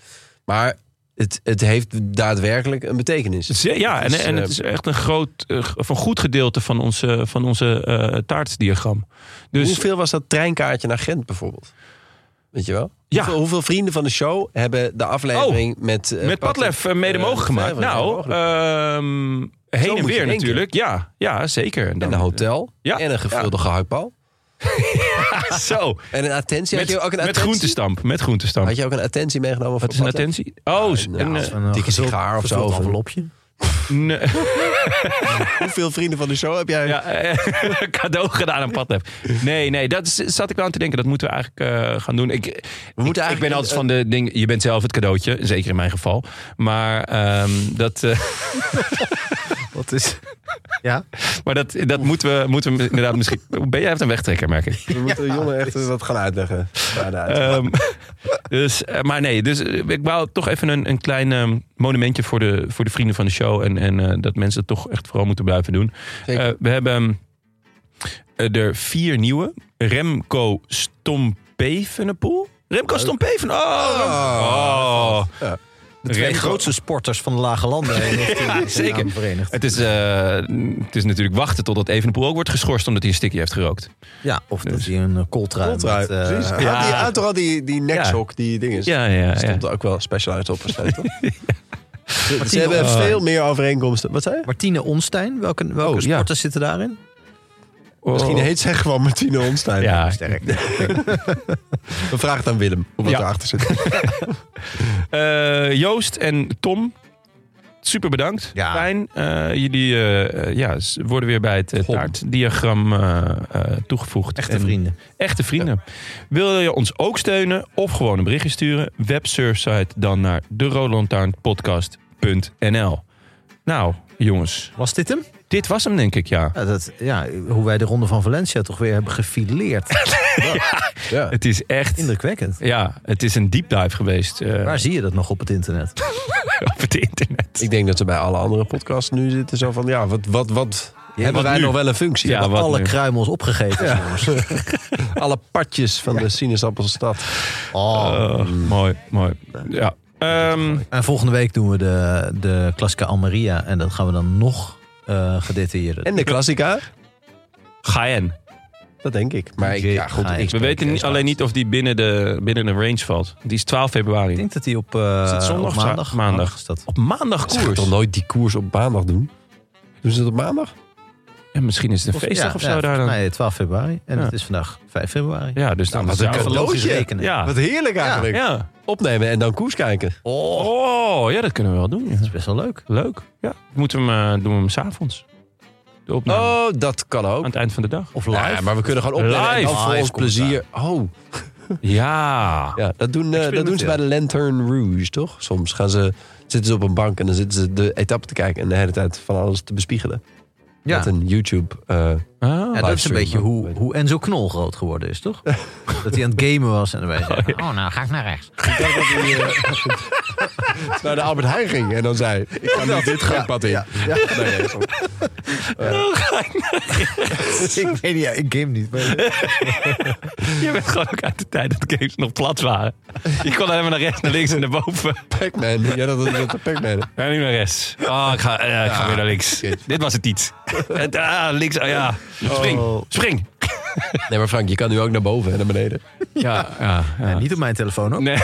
Maar het, het heeft daadwerkelijk een betekenis. Ze- Ja, en, Het is, en eh, het is echt een groot, eh, g- of een goed gedeelte van onze, van onze eh, taartdiagram. Dus Hoeveel was dat treinkaartje naar Gent bijvoorbeeld? Weet je wel? Ja. Oh, Hoeveel, hoeveel vrienden van de show hebben de aflevering met... eh, met Padlef eh, mede eh, mogelijk gemaakt. vrijwel Nou, mogelijk. ehm, heen en moet je weer denken. natuurlijk. Ja, ja, zeker. En en een hotel. Ja. En een gevulde gehaktbal. Zo, En een attentie. met, had je ook een met attentie? groentestamp. Met groentestamp. Had je ook een attentie meegenomen? Wat voor is een Padlef? attentie? Oh, s- nou, een, als eh, Een Dikke gevuld- sigaar of zo. gevuld Of een- envelopje. een, eh, Hoeveel vrienden van de show heb jij? Ja, eh, cadeau gedaan aan Padlef. Nee, nee, dat is- zat ik wel aan te denken. Dat moeten we eigenlijk eh, gaan doen. Ik, ik- moeten ik eigenlijk- eh, ben altijd van de ding, je bent zelf het cadeautje. Zeker in mijn geval. Maar ehm, dat, eh, Wat is... Ja, maar dat, dat moeten, we, moeten we inderdaad misschien... Ben jij even een wegtrekker, merk ik. We moeten de jongen echt wat gaan uitleggen. Ja, nou, Ehm, dus, eh, maar nee, dus eh, ik wou toch even een, een klein ehm, monumentje voor de, voor de vrienden van de show. En, en eh, dat mensen het toch echt vooral moeten blijven doen. Zeker. Eh, we hebben eh, er vier nieuwe. Remco Stompevenepoel. Remco Stompeven. Oh! Rem- oh. Ah, Ja. de twee Remco- grootste sporters van de Lage Landen. ja, zeker. Verenigd. Het is, eh, het is natuurlijk wachten totdat Evenepoel ook wordt geschorst omdat hij een stikje heeft gerookt. Ja, of Dus- dat hij een eh, kooltrui eh, Contrai, precies. Had die- Eh, ja. had toch al die, die nekshok, die dingen. Ja, ja, ja. Stond er ook wel specialized op waarschijnlijk, toch? Ze- Ze hebben veel meer overeenkomsten. Wat zei je? Martine Onstein, welke, welke Oh, ja. sporters zitten daarin? Oh. Misschien heet zij gewoon Martine Onstein. Ja. Sterk. We vragen het aan Willem, hoe wat Ja. erachter zit. Eh, Joost en Tom. Super bedankt. Ja. Fijn. Eh, jullie eh, eh, ja, s- worden weer bij het eh, taartdiagram eh, eh, toegevoegd. Echte En- vrienden. Echte vrienden. Wil je ons ook steunen of gewoon een berichtje sturen? Websurfsite dan naar de Nou, jongens. Was dit hem? Dit was hem, denk ik, ja. Ja, dat, ja, hoe wij de Ronde van Valencia toch weer hebben gefileerd. Ja. Het is echt... Indrukwekkend. Ja, het is een deep dive geweest eh, Waar zie je dat nog op het internet? op het internet. Ik denk dat ze bij alle andere podcasts nu zitten zo van... Ja, wat, wat, wat hebben wat wij nu? nog wel een functie? Ja, Wat- wat Alle nu? kruimels opgegeten. is, jongens. Alle padjes van de sinaasappelstad. Oh. Eh, Mooi, mooi. Ja. Ehm, En volgende week doen we de, de klassieke Almeria. En dat gaan we dan nog eh gedetailleerder. En de klassica, ga in. dat denk ik. Maar ik, DJ ja, goed, Gaia. ik We weten niet- alleen niet of die binnen de, binnen de range valt. Die is 12 ik februari. denk dat die op, eh, Is het zondag op of za- maandag, Oh, maandag? is dat. Op maandag Ze gaan koers. toch nooit die koers op maandag doen? Doen ze dat op maandag? Ja, misschien is het een feestdag ja, of ja, zo daar dan. Nee, 12 februari. En Ja. het is vandaag 5 februari. Ja, dus dan wat zou- een Even logisch cadeautje. rekenen. Ah. Ja. Wat heerlijk eigenlijk. Ja. Opnemen en dan koers kijken. Oh, Oh, ja, dat kunnen we wel doen. ja. dat is best wel leuk. Leuk. Ja. Moeten we hem, eh, doen we hem s'avonds. De opname. Oh, dat kan ook. Aan het eind van de dag. Of live. Ja, maar we kunnen gewoon opnemen en Live. dan voor Live ons plezier. Oh, Ja. ja, dat doen, eh, dat doen ze bij de Lantern Rouge, toch? Soms gaan ze, zitten ze op een bank en dan zitten ze de etappe te kijken... en de hele tijd van alles te bespiegelen. Ja. Met een YouTube... eh, Ah. Ja, dat is een Livestream, beetje maar- hoe, hoe Enzo Knol groot geworden is, toch? dat hij aan het gamen was en dan wij zeiden, oh, nou ga ik naar rechts. naar de Albert Heijn ging en dan zei... ik ga niet dit gangpad in. Nee, nee, sorry. ik weet niet, ja, ik game niet. maar- Je bent gewoon ook uit de tijd dat games nog plat waren. Je kon alleen maar naar rechts, naar links en naar boven. Pac-Man. Ja, dat is dat de Pac-Man. Ja, nu naar rechts. Oh, ik ga, eh, ik ga weer naar links. shit. Dit was het niet. Het- ah, links, ah, ja. Spring, spring. Nee, maar Frank, je kan nu ook naar boven en naar beneden. Ja, ja, Ja, niet op mijn telefoon ook. Nee.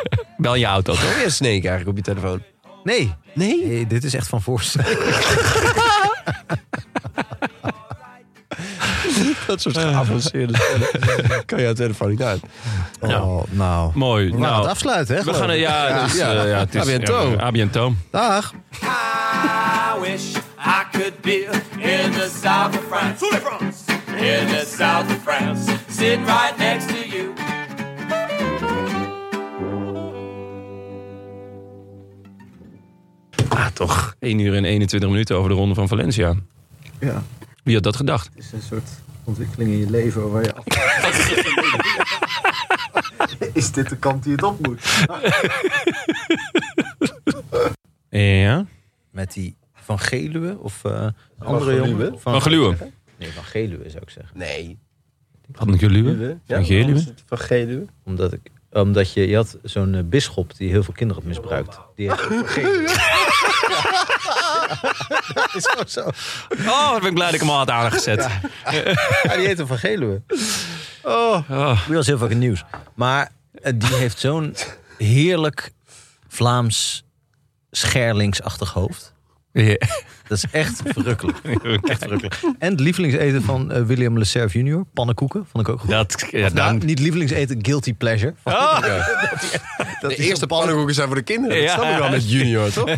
Bel je auto, toch? Heb je een snake eigenlijk op je telefoon? Nee. Nee? dit is echt van voorstel. Dat soort geavanceerde spellen. kan je aan telefoon niet uit. Oh, nou. Mooi. We gaan het nou, afsluiten, hè? we geloof gaan, ik. ja, het is, eh, ja, het is... A bientôt. ja, a bientôt. Dag. I wish I could be in the south of France. In the south of France. Sitting right next to you. Ah, toch. 1 uur en 21 minuten over de ronde van Valencia. Ja, Wie had dat gedacht? het is een soort ontwikkeling in je leven waar je af... Is dit de kant die het op moet? Ja. Met die Van Geluwe of eh, een andere jongen. Van Geluwe. Nee, Van Geluwe zou ik zeggen. Nee. Van Geluwe? Van Geluwe? Van Geluwe? Omdat, ik, omdat je, je had zo'n eh, bisschop die heel veel kinderen had misbruikt. Die heeft Van Geluwe. Dat is gewoon zo. Oh, wat ben ik blij dat ik hem al had aangezet. Ja, die heette Van Geluwe. Oh, Die was heel vaak in het nieuws. Maar eh, die heeft zo'n heerlijk Vlaams scherlingsachtig hoofd. ja. Dat is echt verrukkelijk. Echt verrukkelijk. En het lievelingseten van eh, William Leserve junior. Pannenkoeken, vond ik ook goed. Dat, ja, Of nou, dan, niet lievelingseten, guilty pleasure. Oh. Ah, Dat is De eerste een- pannenkoeken zijn voor de kinderen. Ja. Dat snap ik wel met junior, toch?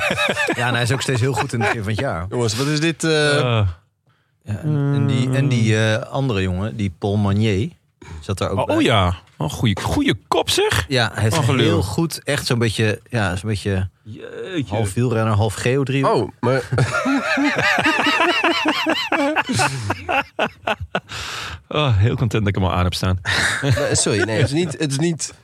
Ja, en hij is ook steeds heel goed in het begin van het jaar. Jongens, wat is dit? eh, Eh, Ja, en, en die, en die eh, andere jongen, die Paul Manier, zat daar ook oh, bij. oh ja, oh, goede goeie kop zeg. Ja, hij heeft Oh, gelul. heel goed, echt zo'n beetje, ja, zo'n beetje half wielrenner, half geodrie. Oh, maar Oh, heel content dat ik hem al aan heb staan. eh, sorry, nee, het is niet, het is niet,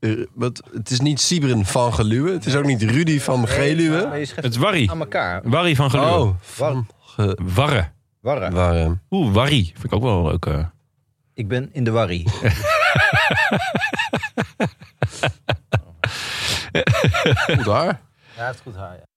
eh, wat, het is niet Siebren van Geluwe. Het is ook niet Rudy van Geluwe. Het Het is Warrie. aan elkaar. Warrie van Geluwe. Eh, Oh, van Ge- Warre. Warren. Warren. Oeh, Warrie. Vind ik ook wel leuk. eh. Ik ben in de warrie. Goed haar. Ja, het goed haar,